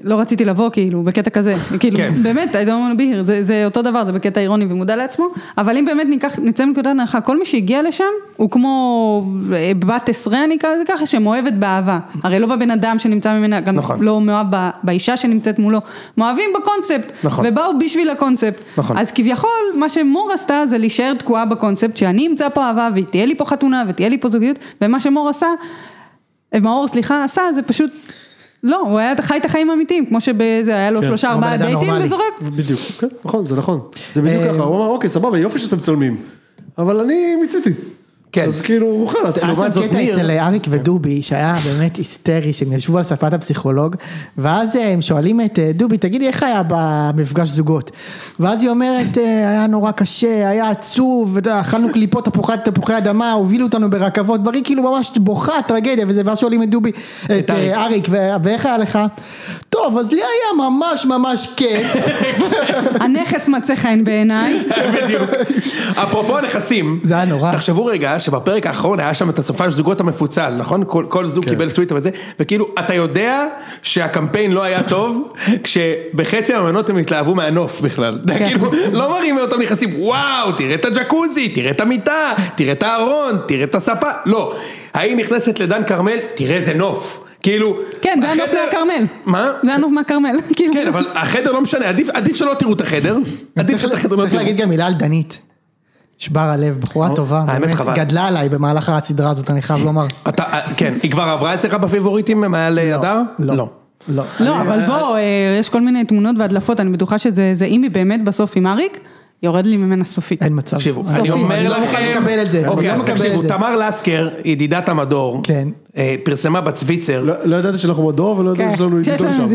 לא רציתי לבוא כאילו בקטע כזה, כאילו כן. באמת, I don't want to be here, זה- זה אותו דבר, זה בקטע אירוני ומודע לעצמו, אבל אם באמת ניקח, נצא מנקודת הנחה, כל מי שהגיע לשם הוא כמו אה, בת עשרה אני אקרא לזה ככה, שמאוהבת באהבה, הרי לא בבן אדם שנמצא ממנה, גם נכון. לא מאוהב ב- באישה שנמצאת מולו, מאוהבים בקונספט, נכון. ובאו בשביל הקונספט, נכון. אז כביכול מה שמור עשתה זה להישאר תקועה בקונספט, שאני אמצא פה אהבה והיא תהיה לי פה חתונה ותהיה לי פה זוגיות, ומה שמור עשה, אה, מאור, סליחה, עשה, זה פשוט... לא, הוא היה חי את החיים האמיתיים, כמו שבזה היה לו כן, שלושה כמו בן ארבעה אדם דייטים נורמלי. וזורק. בדיוק, כן, נכון, זה נכון. זה בדיוק אה, ככה, הוא אמר, אוקיי, סבבה, יופי שאתם מצלמים. אבל אני מיציתי. כן. אז כאילו, הוא לעומת חלאס. היה אה, שם זאת, קטע ניר- אצל אריק ודובי, שהיה באמת היסטרי, שהם ישבו על ספת הפסיכולוג, ואז אה, הם שואלים את אה, דובי, תגידי, איך היה במפגש זוגות? ואז היא אומרת, אה, היה נורא קשה, היה עצוב, ואתה יודע, אכלנו קליפות תפוחי- תפוחי אדמה, הובילו אותנו ברכבות, בריא, כאילו ממש בוכה, טרגדיה וזה, ואז שואלים את דובי, את אריק. אה, אריק, "ו- ואיך היה לך? טוב, אז לי היה ממש ממש כיף. הנכס מצא חן בעיניי. בדיוק. אפרופו הנכסים, זה היה נורא. תחשבו רגע שבפרק האחרון היה שם את הסופש זוגות המפוצל, נכון? כל, כל כן. זוג קיבל סוויטה וזה, וכאילו אתה יודע שהקמפיין לא היה טוב, כשבחצי מהמנות הם התלהבו מהנוף בכלל. זה כן. היה כאילו, לא מראים אותם נכנסים, וואו, תראה את הג'קוזי, תראה את המיטה, תראה את הארון, תראה את הספה, לא. ההיא נכנסת לדן כרמל, תראה איזה נוף. כאילו, כן, זה הנוף החדר- מהכרמל. מה? זה הנוף מהכרמל. כאילו. כן, אבל החדר לא משנה, עדיף, עדיף שלא תראו את החדר, עדיף שאת החדר לא צריך תראו. להגיד גם מילה על דנית. שבר הלב, בחורה טובה, האמת באמת, חבל. גדלה עליי במהלך הסדרה הזאת, אני חייב לומר. אתה, כן, היא כבר עברה אצלך בפיבוריטים מעל אה, הדר? לא. לא. לא, אבל בוא, אה, יש כל מיני תמונות והדלפות, אני בטוחה שזה זה אם היא באמת בסוף עם אריק, יורד לי ממנה סופית. אין מצב. תקשיבו, סופי, אני אני אומר לא מוכן לכם, לקבל את זה. אוקיי, אני לא אז מקבל תקשיבו, את זה. תמר לסקר, ידידת המדור, כן. אה, פרסמה בצוויצר, לא לא ידעתי שאנחנו בדור, ולא ידעתי כן, שיש לנו שיש עיתון לנו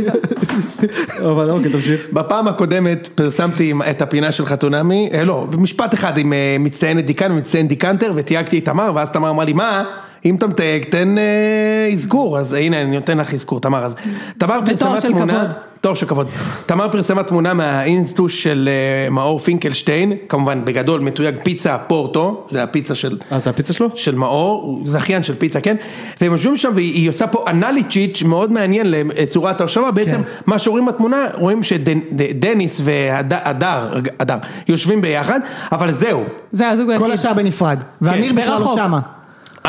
שם. אבל אוקיי, תמשיך. בפעם הקודמת פרסמתי עם- את הפינה של חתונמי, אה, לא, במשפט אחד עם אה, מצטיינת דיקן ומצטיין דיקנטר, ותייגתי את תמר, ואז תמר אמרה לי, מה, אם אתה מתייג, תן אה, אזכור, אז הנה, אני נותן לך אזכור, תמר, אז תמר פרסמה של תמונה, כבוד. תואר של כבוד, תמר פרסמה תמונה מהאינסטוש של אה, מאור פינקלשטיין, כמובן בגדול מתויג פיצה פורטו, זה הפיצה של... אה, זה הפיצה שלו? של מאור, הוא זכיין של פיצה, כן? והם יושבים שם והיא היא עושה פה אנליצ'יץ' מאוד מעניין לצורת כן. הרשמה, בעצם מה שרואים בתמונה, רואים שדניס והדר, הדר, יושבים ביחד, אבל זהו, כן. זה הזוג כל היחיד. השאר בנפרד. ואמיר בכלל לא ברחוק. שמה.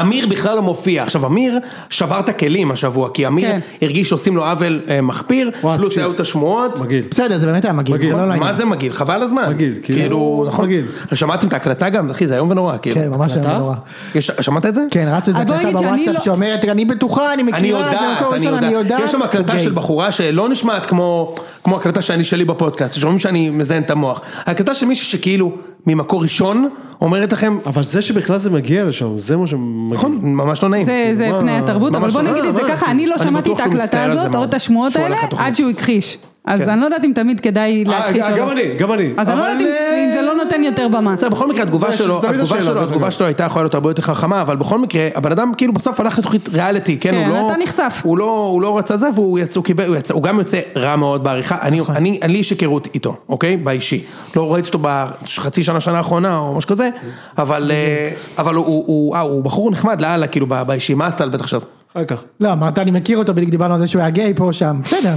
אמיר בכלל לא מופיע. עכשיו, אמיר שבר את הכלים השבוע, כי אמיר כן. הרגיש שעושים לו עוול אה, מחפיר, וואי, פלוס תקשיב. היו את השמועות. מגעיל. בסדר, זה באמת היה מגעיל. מגעיל. זה לא לעניין. מה זה מגעיל? חבל הזמן. מגעיל, כאילו, כאילו, נכון. מגעיל. שמעתם את ההקלטה גם? אחי, זה איום ונורא, כאילו. כן, ממש הקלטה? איום ונורא. יש- שמעת את זה? כן, רץ איזה אבל בוא הקלטה נגיד שאני לא- בוואטסאפ שאומרת, אני בטוחה, אני אני מכירה, זה יודעת, מקום אני ראשון, אני יודעת. יודעת. יש שם הקלטה אוקיי. של בחורה שלא נשמעת כמו כמו הקלטה שאני שלי בפודקאסט, ששומעים שאני מזיין את המוח. הקלטה של מישהו שכאילו ממקור ראשון אומרת לכם, אבל זה שבכלל זה מגיע לשם, זה מה שמגיע. נכון, ממש לא נעים. זה, זה מה, פני התרבות, אבל ממש בוא לא. נגיד אה, את זה מה, ככה, כאילו, אני לא אני שמעתי את בטוח שהוא ההקלטה מצטער על זה הזאת מאוד. או את השמועות שהוא האלה הלך לתוכנית. עד שהוא הכחיש. אז כן. אני לא יודעת אם תמיד כדאי להכחיש. אה, או גם לא. אני, גם אני. אז אני לא אבל, יודעת אם- אם זה לא נותן יותר במה. בסדר, בכל מקרה התגובה זה- שלו, זה תמיד התגובה השאלה, שלו, דרך התגובה אגב. שלו הייתה יכולה להיות הרבה יותר חכמה, אבל בכל מקרה, הבן אדם כאילו בסוף הלך לתוכנית ריאליטי, כן, כן, הוא לא, אתה נחשף. הוא לא, הוא לא רצה זה, והוא יצא, הוא קיבל, הוא יצא, הוא גם יוצא רע מאוד בעריכה, אני, נכון. אני, אני, לי יש היכרות איתו, אוקיי, באישי, לא ראיתי אותו בחצי שנה, שנה האחרונה, או משהו כזה, אבל, אה, אבל הוא, הוא, הוא, אה, הוא בחור נחמד לאללה, כאילו, ב- באישי, מה עשתה לבית עכשיו? אה, אחר כך. לא, אמרת, אני מכיר אותו, בדיוק דיברנו על זה שהוא היה גיי פה או שם. בסדר.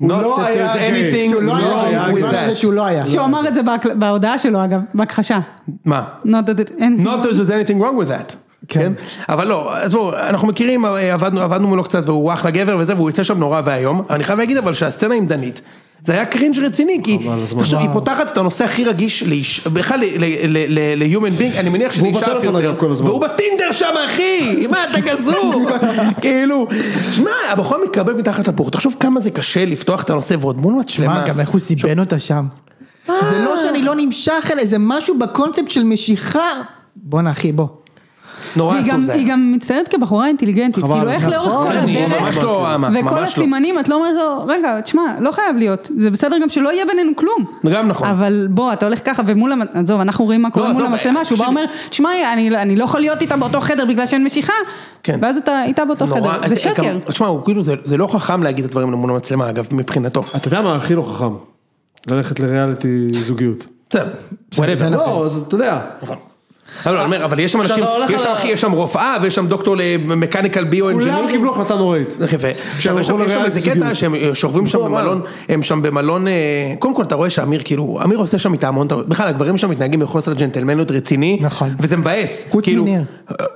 Not לא that היה there's גיי. anything שהוא לא wrong היה, with הוא דיבר על זה that. שהוא לא היה. שהוא אמר את זה בהקל- בהודעה שלו אגב, בהכחשה. מה? Not that it- אין- Not that there's anything wrong with that. כן. כן, אבל לא, אז בואו, אנחנו מכירים, אה, עבדנו, עבדנו מולו קצת והוא אחלה גבר וזה, והוא יוצא שם נורא ואיום. אני חייב להגיד אבל שהסצנה עם דנית, זה היה קרינג' רציני, כי חבל על הזמן. תחשוב, היא פותחת את הנושא הכי רגיש לאיש, בכלל ל-human being, אני מניח והוא שלאישה אף בטלפון, יותר, אגב, כל הזמן. והוא בטינדר שם אחי, מה אתה גזור, כאילו, שמע, הבחור מתקרבב מתחת לפור, תחשוב כמה זה קשה לפתוח את הנושא ועוד מול מצלמה. מה, גם איך הוא סיבן אותה שם. זה לא שאני לא נמשך אליה, זה משהו בקונספט של משיכה. בואנה אחי, בוא. נורא היא עצוב גם- זה היא היה. גם מצטיירת כבחורה אינטליגנטית, חבל, כאילו איך לאורך נכון. אה, כל אני הדרך, ממש לא אמה, וכל ממש לא. הסימנים, את לא אומרת לו, רגע, תשמע, לא חייב להיות, זה בסדר גם שלא יהיה בינינו כלום. גם נכון. אבל בוא, אתה הולך ככה ומול, המ- עזוב, אנחנו רואים מה קורה עזוב, מול אה, המצלמה, שהוא בא תקשיבי. אומר, תשמע, אני- אני לא יכול להיות איתה באותו חדר בגלל שאין משיכה, כן. ואז אתה איתה באותו נורא, אה, חדר, זה שקר. גם- תשמע, הוא כאילו, זה- זה לא חכם להגיד את הדברים האלה מול המצלמה, אגב, מבחינתו. אתה יודע מה הכי לא חכם? ללכת לריאליטי זוגיות. בסדר, whatever. לא, אז אתה יודע. אבל אני אומר, אבל יש שם כשאתה אנשים, הולך יש שם על ה- אחי, יש שם רופאה ויש שם דוקטור למקניקל ביו כולם קיבלו החלטה נוראית. יפה. עכשיו יש שם הלכו יש שם לריאליטי איזה קטע זוגיות. שהם אה, שוכבים שם הוא אמר. במלון, הם שם במלון, אה, קודם כל אתה רואה שאמיר כאילו, אמיר עושה שם איתה המון, טעויות. בכלל הגברים שם מתנהגים בחוסר ג'נטלמניות רציני, נכון. וזה מבאס, חוץ כאילו, מניר. אה,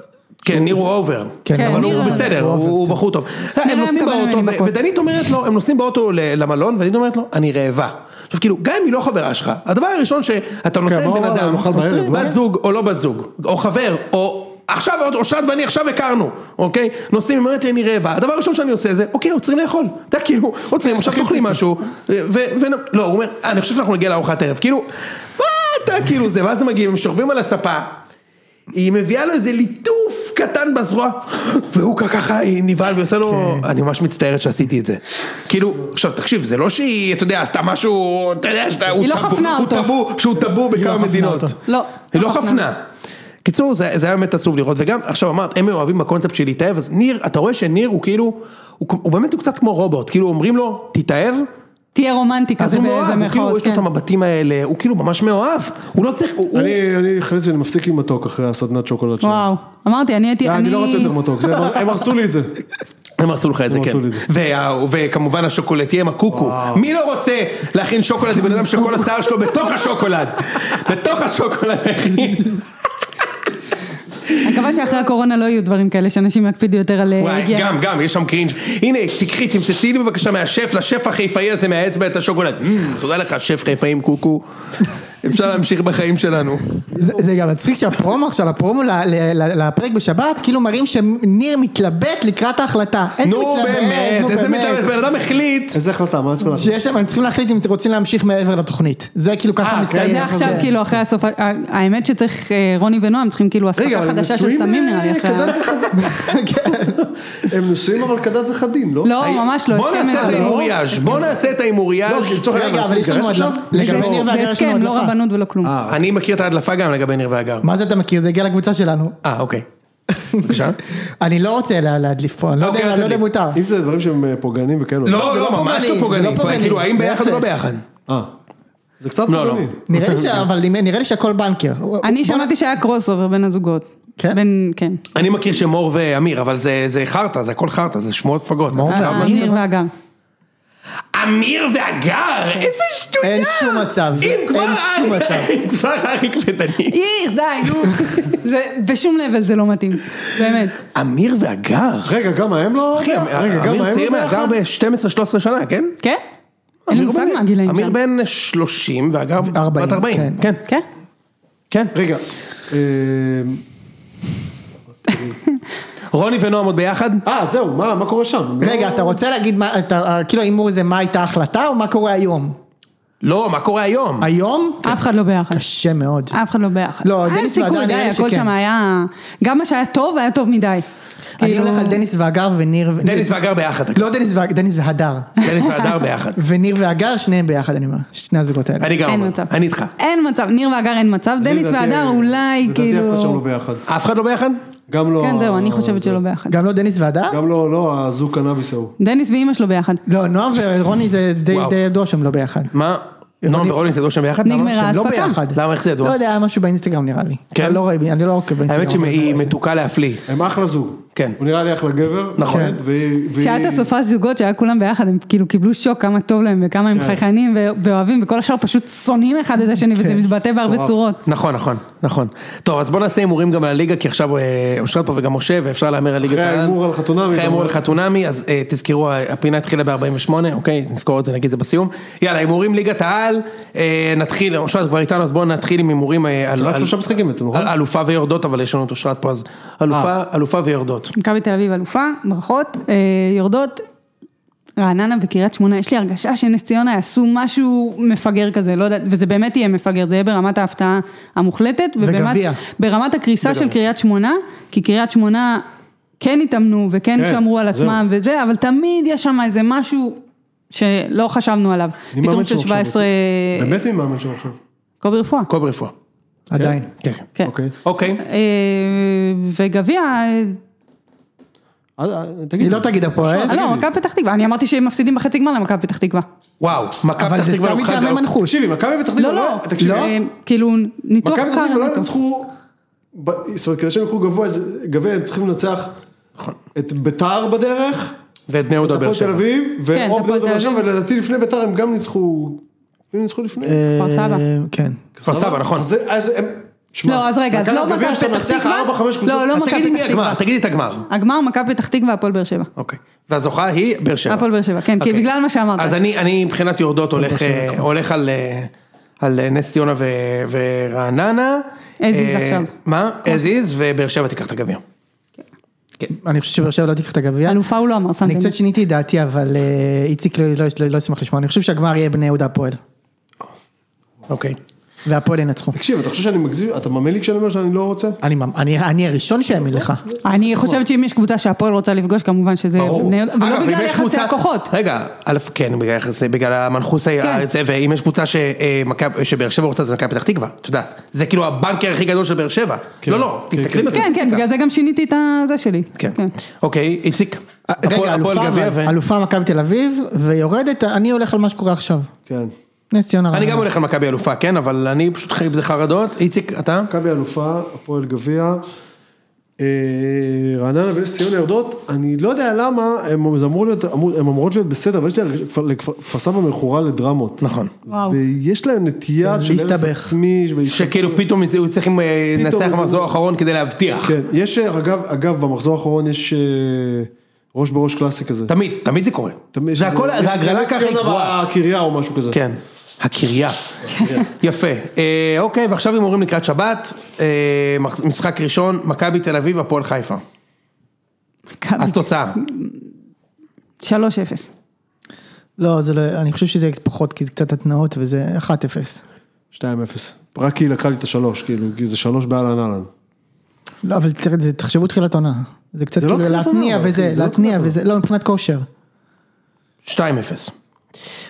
כן, ניר הוא אובר, כן, אבל ניר הוא הוא- בסדר, הוא הוא אובר, הוא כן. בחור טוב. הם היה נוסעים מקבל באוטו, ממני ו- מכות. ודנית אומרת לו, הם נוסעים באוטו ל- למלון, ודנית אומרת לו, אני רעבה. עכשיו כאילו, גם אם היא לא חברה שלך, הדבר הראשון שאתה נוסע עם בוא, בן בוא, אדם, נאכל בערב, לא? בת זוג או לא בת זוג, או חבר, או עכשיו, או שאת ואני עכשיו הכרנו, אוקיי? נוסעים, היא אומרת לי, אני רעבה, הדבר הראשון שאני עושה זה, אוקיי, עוצרים לאכול. אתה יודע, כאילו, עוצרים, עכשיו תאכלי משהו, ו... ו- לא, הוא אומר, אני חושב שאנחנו נגיע לארוחת ערב, כאילו, מה אתה, כאילו זה, ואז הם מגיעים, הם שוכבים על הספה. היא מביאה לו איזה ליטוף קטן בזרוע, והוא ככה נבהל ועושה לו, אני ממש מצטערת שעשיתי את זה. כאילו, עכשיו תקשיב, זה לא שהיא, אתה יודע, עשתה משהו, אתה יודע, שאתה- הוא היא לא טאבו- חפנה הוא אותו. טאבו, שהוא טאבו לא בכמה חפנה מדינות. אותו. לא, היא לא לא חפנה. חפנה. קיצור, זה, זה היה באמת עצוב לראות, וגם עכשיו אמרת, הם אוהבים בקונספט של להתאהב, אז ניר, אתה רואה שניר הוא כאילו, הוא, הוא באמת הוא קצת כמו רובוט, כאילו אומרים לו, תתאהב, תהיה רומנטי אז כזה הוא כן, באיזה מאוהב, הוא כאילו, מירכאות, יש לו כן. את המבטים האלה, הוא כאילו ממש מאוהב, הוא לא צריך, הוא, הוא, אני אני החלטתי שאני מפסיק עם מתוק אחרי הסדנת שוקולד שלנו. וואו, אמרתי, אני הייתי, לא, אני לא רוצה יותר מתוק, זה- הם הרסו לי את זה. הם הרסו לך את זה, הם כן, הרסו לי את זה. וה- וכמובן השוקולטייה עם הקוקו, מי לא רוצה להכין שוקולד לבן אדם שכל השיער שלו בתוך השוקולד, בתוך השוקולד, אחי. אני מקווה שאחרי הקורונה לא יהיו דברים כאלה, שאנשים יקפידו יותר על אה, וואי, היגיינה. גם, גם, יש שם קרינג'. הנה, תקחי, תמצצי לי בבקשה מהשף, לשף החיפאי הזה מהאצבע את השוקולד. אמ, תודה לך, שף חיפאי עם קוקו. אפשר להמשיך בחיים שלנו. זה זה גם מצחיק שהפרומו עכשיו, הפרומו ל- ל- ל- לפרק בשבת, כאילו מראים שניר מתלבט לקראת ההחלטה. איזה נו מתלבט, באמת, נו, איזה באמת. מתאמץ, בן אדם החליט. איזה החלטה, מה צריך לעשות? שיש שם, הם צריכים להחליט אם רוצים להמשיך מעבר לתוכנית. זה כאילו אה, ככה כן? מסתיים. זה עכשיו כאילו אחרי הסוף, ה- האמת שצריך, אה, רוני ונועם צריכים כאילו רגע, אספקה אבל הם חדשה של נשואים סמים אה, נראה לי. אחרי ה- כן. כדת וכדין. הם נשואים אבל כדת וכדין, לא? לא, ממש לא, בוא הסכם נעשה את מזונות. ההימורייאז', בוא נעשה את לא, ההימורייאז'. כי לצורך העניין, רגע, אנחנו אבל יש נתגרש לנו עוד עכשיו? לא- לגבי ניר והגר זה יש לנו הסכם, עוד לא הדלפה. רבנות ולא כלום. אה, אני מכיר את ההדלפה גם לגבי ניר והגר. מה זה אתה מכיר? זה הגיע לקבוצה שלנו. אה, אוקיי. בבקשה. אני לא רוצה לה- להדליף פה, אני לא אוקיי, יודע אל אני לא יודע אם מותר. אם זה דברים שהם אה, פוגעניים וכן או לא, לא, ממש לא פוגעני. זה לא פוגעני. כאילו, האם ביחד או לא להפך. ביחד? אה, זה קצת לא, לא. פוגעני. נראה לי ש... אבל נראה לי שהכל בנקר. אוקיי. אני שמעתי שהיה קרוס אובר בין הזוגות. כן? בין, כן. אני מכיר שמור ואמיר, אבל זה- זה חרטא, זה הכל חרטא, זה לא שמועות מפגרות. מור אפשר ואמיר. משהו? אה, ניר והגר. אמיר והגר, איזה שטויה! אין שום מצב, זה- אם כבר אין שום אריק- מצב. אם כבר אריק ודנית. איך, די, נו. זה- בשום לבל זה לא מתאים, באמת. אמיר והגר. רגע, גם הם לא... אחי, רגע, גם אמיר הם צעיר לא ביחד? מהגר ב-12-13 שנה, כן? כן? אין לי מושג מה הגילאים אמיר שם. בן 30 והגר בת 40, 40. כן. כן, כן? כן. רגע, אמ, רוני ונועם עוד ביחד? אה, זהו, מה מה קורה שם? לא- רגע, אתה רוצה להגיד מה, אתה- כאילו ההימור זה מה הייתה ההחלטה או מה קורה היום? לא, מה קורה אה, היום? היום? אף אחד לא ביחד. קשה מאוד. אף אחד לא ביחד. לא, היה דניס סיכוי, והדר די, נראה לי הכל שכן. שם היה... גם מה שהיה טוב, היה טוב מדי. אני כאילו- הולך על דניס והגר וניר... ו- דניס והגר ביחד. לא אה, דניס והגר, דניס והדר. דניס והדר ביחד. וניר והגר, שניהם ביחד, אני אומר. שני הזוגות האלה. אני גם אין אומר, מצב. אני איתך. אין מצב, ניר והגר אין מצב, דניס לדעתי- והדר אולי לדעתי אף אחד שם לא כאילו... ביחד. אף אחד לא ביחד? גם לא... כן, זהו, אני חושבת זה- שלא ביחד. גם לא דניס והדר? גם לא, לא, הזוג קנאביס ההוא. דניס ואימא שלו ביחד. לא, נועם ורוני זה די וואו. די ידוע שהם לא ביחד. מה? נועם ורוני יסתדרו שם ביחד? נגמרה. למה? שהם לא האספקה. ביחד. למה? איך זה ידוע? לא יודע, היה משהו באינסטגרם נראה לי. כן? אני לא רואה, אני לא עוקב באינסטגרם. האמת שהיא מתוקה להפליא. הם אחלה זוג. כן. הוא נראה לי אחלה גבר. נכון. באמת, והיא... והיא- כשהיה את הסופש זוגות שהיה כולם ביחד, הם כאילו קיבלו שוק כמה טוב להם וכמה כן. הם חייכנים ו- ואוהבים, וכל השאר פשוט שונאים אחד את השני, כן. וזה מתבטא בהרבה צורות. נכון, נכון, נכון. טוב, אז בוא נעשה הימורים גם על הליגה, כי עכשיו אה, אושרת פה וגם משה, ואפשר להמר על ליגת אחרי העל. ההימור על חתונמי. אחרי ההימור על גם- חתונמי, אז אה, תזכרו, הפינה התחילה ב-48, אוקיי? נזכור את זה, נגיד את זה בסיום. יאללה, הימורים ליגת העל, אה, נתחיל, אושרת כבר איתנו, אז בואו נתחיל עם הימורים אה, על... רק על- שלושה משחקים בעצם, נכון? אה. על אלופה ויורדות, אבל יש לנו את אושרת פה, אז אלופה- אלופה ויורדות. מכבי תל אביב אלופה, ברכות, אה, יורדות. רעננה וקריית שמונה, יש לי הרגשה שנס ציונה יעשו משהו מפגר כזה, לא יודעת, וזה באמת יהיה מפגר, זה יהיה ברמת ההפתעה המוחלטת. וברמת- וגביע. ברמת הקריסה של קריית שמונה, כי קריית שמונה כן התאמנו וכן כן, שמרו על זהו. עצמם וזה, אבל תמיד יש שם איזה משהו שלא חשבנו עליו. מי מאמן פתאום שם של עכשיו 17... אה, בעצם? באמת מי מאמן שם עכשיו? קובי רפואה. קובי רפואה. עדיין. כן, כן. כן. אוקיי. אוקיי. אה, וגביע, אה, אז, אה, תגיד. היא לא תגיד הפועל. אה, לא, מכבי פתח תקווה, אני אמרתי שהם מפסידים בחצי גמר למכבי פתח תקווה. וואו, מכבי אבל פתח זה תקווה סתם לקחה מתאמן גר- מנחוס. תקשיבי, מכבי פתח תקווה... לא, לא, תקשיבי, לא, כאילו ניתוח מכבי פתח קל, תקווה לא אני טוב. ינצחו, ב- זאת אומרת, כדי שהם יקחו גבוה, אז גביע, הם צריכים לנצח את ביתר בדרך, ואת בני את יהודה באר הפועל תל שבע. אביב, את ואו הפועל בני יהודה תל באר שבע, אביב. ולדעתי לפני ביתר הם גם ניצחו, הם ניצחו לפני. כפר סבא. אה, כן. כפר סבא, נכון. אז- אז הם... שמע, לא, אז רגע, אז מכבי לא הגביע מכבי שאתה פתח מנצח תקווה. ארבע, חמש לא, קבוצות. לא אז מכבי תגידי מי פתח הגמר, תקווה. תגידי את הגמר. הגמר מכבי פתח תקווה, הפועל באר שבע. אוקיי. והזוכה היא באר שבע. הפועל באר שבע, כן, כי אוקיי. בגלל מה שאמרת. אז אני, אני מבחינת יורדות הולך, אה, נכון. הולך על, אה, על אה, נס ציונה ו- ורעננה. As is אה, עכשיו. כן. מה? as is, ובאר שבע תיקח את הגביע. כן. אני חושב שבאר שבע לא תיקח את הגביע. אלופה הוא לא אמר, שמתם. אני לב. קצת שיניתי את דעתי, אבל אה, איציק לא- לא- לא לא ישמח לשמוע. אני חושב שהגמר יהיה בני יהודה הפועל. אוקיי. והפועל ינצחו. תקשיב, אתה חושב שאני מגזים? אתה מאמין לי כשאני אומר שאני לא רוצה? אני מאמ- אני- אני הראשון שיאמין לך. אני חושבת שאם יש קבוצה שהפועל רוצה לפגוש, כמובן שזה... אה, בני יהודה, ולא אגב, אם בגלל יש יחסי קבוצה- אה, הכוחות. רגע, א', כן, בגלל יחסי, בגלל המנחוס כן. הזה, ואם יש קבוצה שמכבי- שבאר שבע רוצה, זה מכבי פתח תקווה, את יודעת. זה כאילו הבנקר הכי גדול של באר שבע. לא, לא, תסתכלי בזה. כן, כן, בגלל זה גם שיניתי את הזה שלי. כן. אוקיי, איציק. הפועל- אה, רגע, הפועל אלופה גביע ו- אבל, אלופה מכבי תל אביב, ויורדת, אני הולך על מה שקורה עכשיו. כן. נס ציונה. אני רעננה. גם הולך על מכבי אלופה, כן, אבל אני פשוט חי בזה חרדות. איציק, אתה? מכבי אלופה, הפועל גביע, אה, רעננה ונס ציונה יורדות, אני לא יודע למה, הם, זה אמור להיות, אמור, הם אמורות להיות בסדר, אבל יש לי הרגשה- כפר- לכפר כפר סבא מכורה לדרמות. נכון. כן, וואו. ויש להם נטייה של הרס להסתבך. עצמי, ולהסתבך. שכאילו פתאום הוא צריך אה, פתאום לנצח איזה- במחזור האחרון כדי להבטיח. כן, יש, אה, אגב, אגב, במחזור האחרון יש אה, ראש בראש קלאסי כזה. תמיד, תמיד זה קורה. תמיד יש זה איזה- הכל, יש זה הגרלה נס ככה היא ציונה קבועה. והקריה או משהו כזה. כן, הקריה. יפה. אה, אוקיי, ועכשיו הימורים לקראת שבת, אה, מח- משחק ראשון, מכבי תל אביב, הפועל חיפה. מכבי. אז תוצאה. 3-0. לא, זה לא, אני חושב שזה פחות, כי זה קצת התנאות, וזה 1-0. 2-0. רק כי היא לקחה לי את השלוש, כאילו, כי זה שלוש באהלן אהלן. לא, אבל תראה, זה- תחשבו תחילת עונה. זה קצת זה לא כאילו תחילת עונה, להתניע אבל וזה, זה לא להתניע תחילת וזה, לא, מבחינת כושר. 2-0.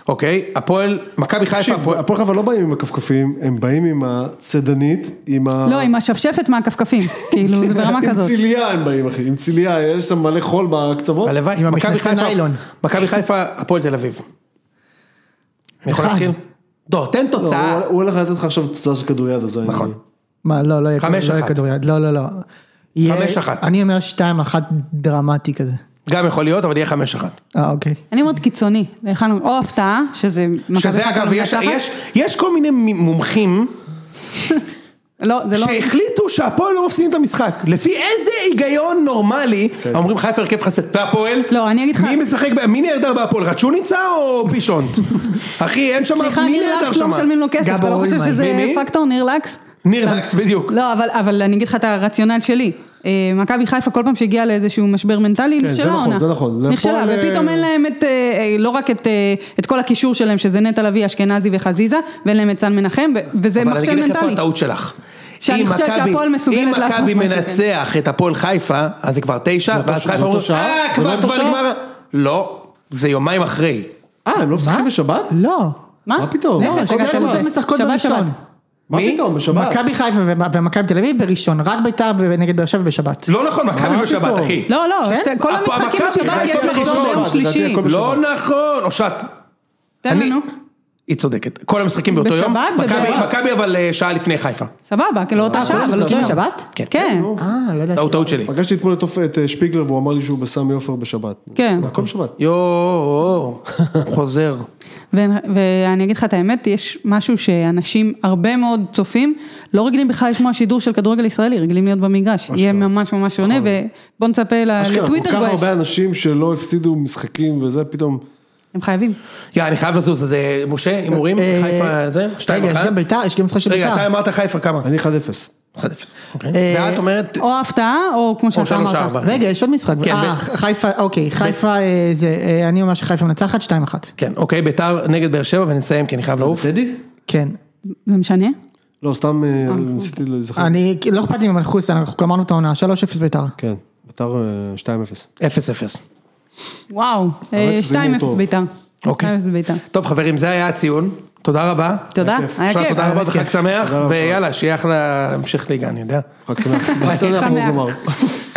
אוקיי, הפועל, מכבי חיפה, תקשיב, הפועל- הפועל חיפה לא באים עם הכפכפים, הם באים עם הצדנית, עם אה. ה... לא, עם השפשפת מהכפכפים. כאילו, זה ברמה כן, עם כזאת. ציליה הם באים, אחי, עם ציליה, יש שם מלא חול בקצוות. הלוואי, עם מכבי המכנסי חיפה- ניילון. מכבי חיפה, הפועל תל אביב. אני יכול אחד. להתחיל? לא, תן לא, תוצאה. הוא- הוא הולך לתת לך עכשיו תוצאה של כדוריד, אז אני- נכון. מה, לא, לא יהיה חמש לא יהיה אחת. כדוריד, לא, לא, לא. יהיה- 5-1. אני אומר 2-1 דרמטי כזה. גם יכול להיות, אבל יהיה 5-1. אה, אוקיי. אני אומרת קיצוני. להיכן- או הפתעה, שזה... מכבי שזה חיפה אגב, לא יש- מנצחת. יש- יש כל מיני מומחים לא, זה לא... שהחליטו שהפועל לא מפסידים את המשחק. לפי איזה היגיון נורמלי, אומרים חיפה הרכב חסר, והפועל? לא, אני אגיד לך- מי משחק, ב- מי נהדר בהפועל, רצ'וניצה או פישונט? אחי, אין שם, סליחה, מי ניר נהדר לקס לא שם? משלמים לו כסף, גבו אתה לא חושב אולמן. מי, שזה מי? פקטור, ניר לקס? ניר לקס, בדיוק. לא, אבל, אבל אני אגיד לך את הרציונל שלי. אה, מכבי חיפה כל פעם שהגיעה לאיזשהו משבר מנטלי, כן, זה נכשלה נכון, העונה. זה נכון. זה נכשלה, הפועל, ופתאום אה, אין להם את, אה, אה, לא רק את, אה, את כל הקישור שלהם, שזה נטע לביא, אשכנזי וחזיזה, ואין להם את סן מנחם, ו- וזה אבל אני מחשב אגיד לך איפה מנטלי. הטעות שלך. שאני אם חושבת מכבי- שהפועל מסוגלת לעשות אם מכבי משהו, כן. מנצח את הפועל חיפה, אז זה כבר תשע, זה אותו- ואז זה חיפה אותו אומרים, שעה? אה, זה לא כבר אותו כבר שעה?" נגמר. לא, זה יומיים אחרי. אה, הם לא משחקים בשבת? לא. מה? מה פתאום? להפך, לא, זה כל קשור. הקבוצות משחקות שבת, בראשון. שבת. מה מי? פתאום, בשבת? מכבי חיפה ומ- ומכבי תל אביב בראשון, רק ביתר נגד באר שבע בשבת. לא נכון, מכבי מה בשבת, פתאום? אחי. לא, לא, כן? שת- כל הפועל המשחקים אה, מכבי בשבת חיפה יש בראשון, מחזור ביום לדעתי, שלישי. הכל לא נכון, אושרת. תן אני- לנו. היא צודקת, כל המשחקים באותו בשבת יום, מכבי- ובשבת. מכבי אבל אה, שעה לפני חיפה, סבבה, אה, כן, לא אותה שעה, אבל אותו משחקים יום. בשבת? כן. כן, אה, לא ידעתי. טעות טעות שלי. פגשתי אתמול את אופ- את אה, שפיגלר והוא אמר לי שהוא בסמי עופר בשבת. כן. הכל בשבת. אה, יואו, חוזר. ו- ואני אגיד לך את האמת, יש משהו שאנשים, הרבה מאוד צופים, לא רגילים בכלל לשמוע שידור של כדורגל ישראלי, רגילים להיות במגרש. יהיה ממש ממש שונה, ובוא נצפה ל- אשכרה, כל לטוויטר כך גועש. הרבה אנשים שלא הפסידו משחקים וזה, פתאום... הם חייבים. יא, אני חייב לזוז, אז אה, משה, הימורים, אה, חיפה זה, 2-1. רגע, יש גם ביתר, יש גם משחק של רגע, ביתר. אתה אמרת חיפה כמה? אני 1-0. 1-0. אוקיי. ואת אומרת, או הפתעה, או כמו שאתה שלוש, אמרת. ארבע. רגע, יש עוד משחק. כן, אה, ב- חיפה, אוקיי, חיפה אה, זה, אה, אני אומר שחיפה מנצחת, 2-1. כן, אוקיי, ביתר נגד באר שבע ונסיים כי אני חייב לעוף. טדי? כן. זה משנה? לא, סתם אה, ניסיתי להיזכר. אני, לא אכפת לי ממנחוס, אנחנו גמרנו את העונה, 3-0 ביתר. כן, ביתר אה, 2-0. 0-0. וואו, האמת אה, שזה הימור 2-0 טוב. ביתר. אוקיי. 2-0 ביתר. טוב חברים, זה היה הציון, תודה רבה. תודה, כיף. היה אפשר כיף. תודה רבה וחג שמח, תודה רבה. ויאללה, שיהיה אחלה המשך ליגה, אני יודע. חג שמח. חג שמח. שמח. נגמר.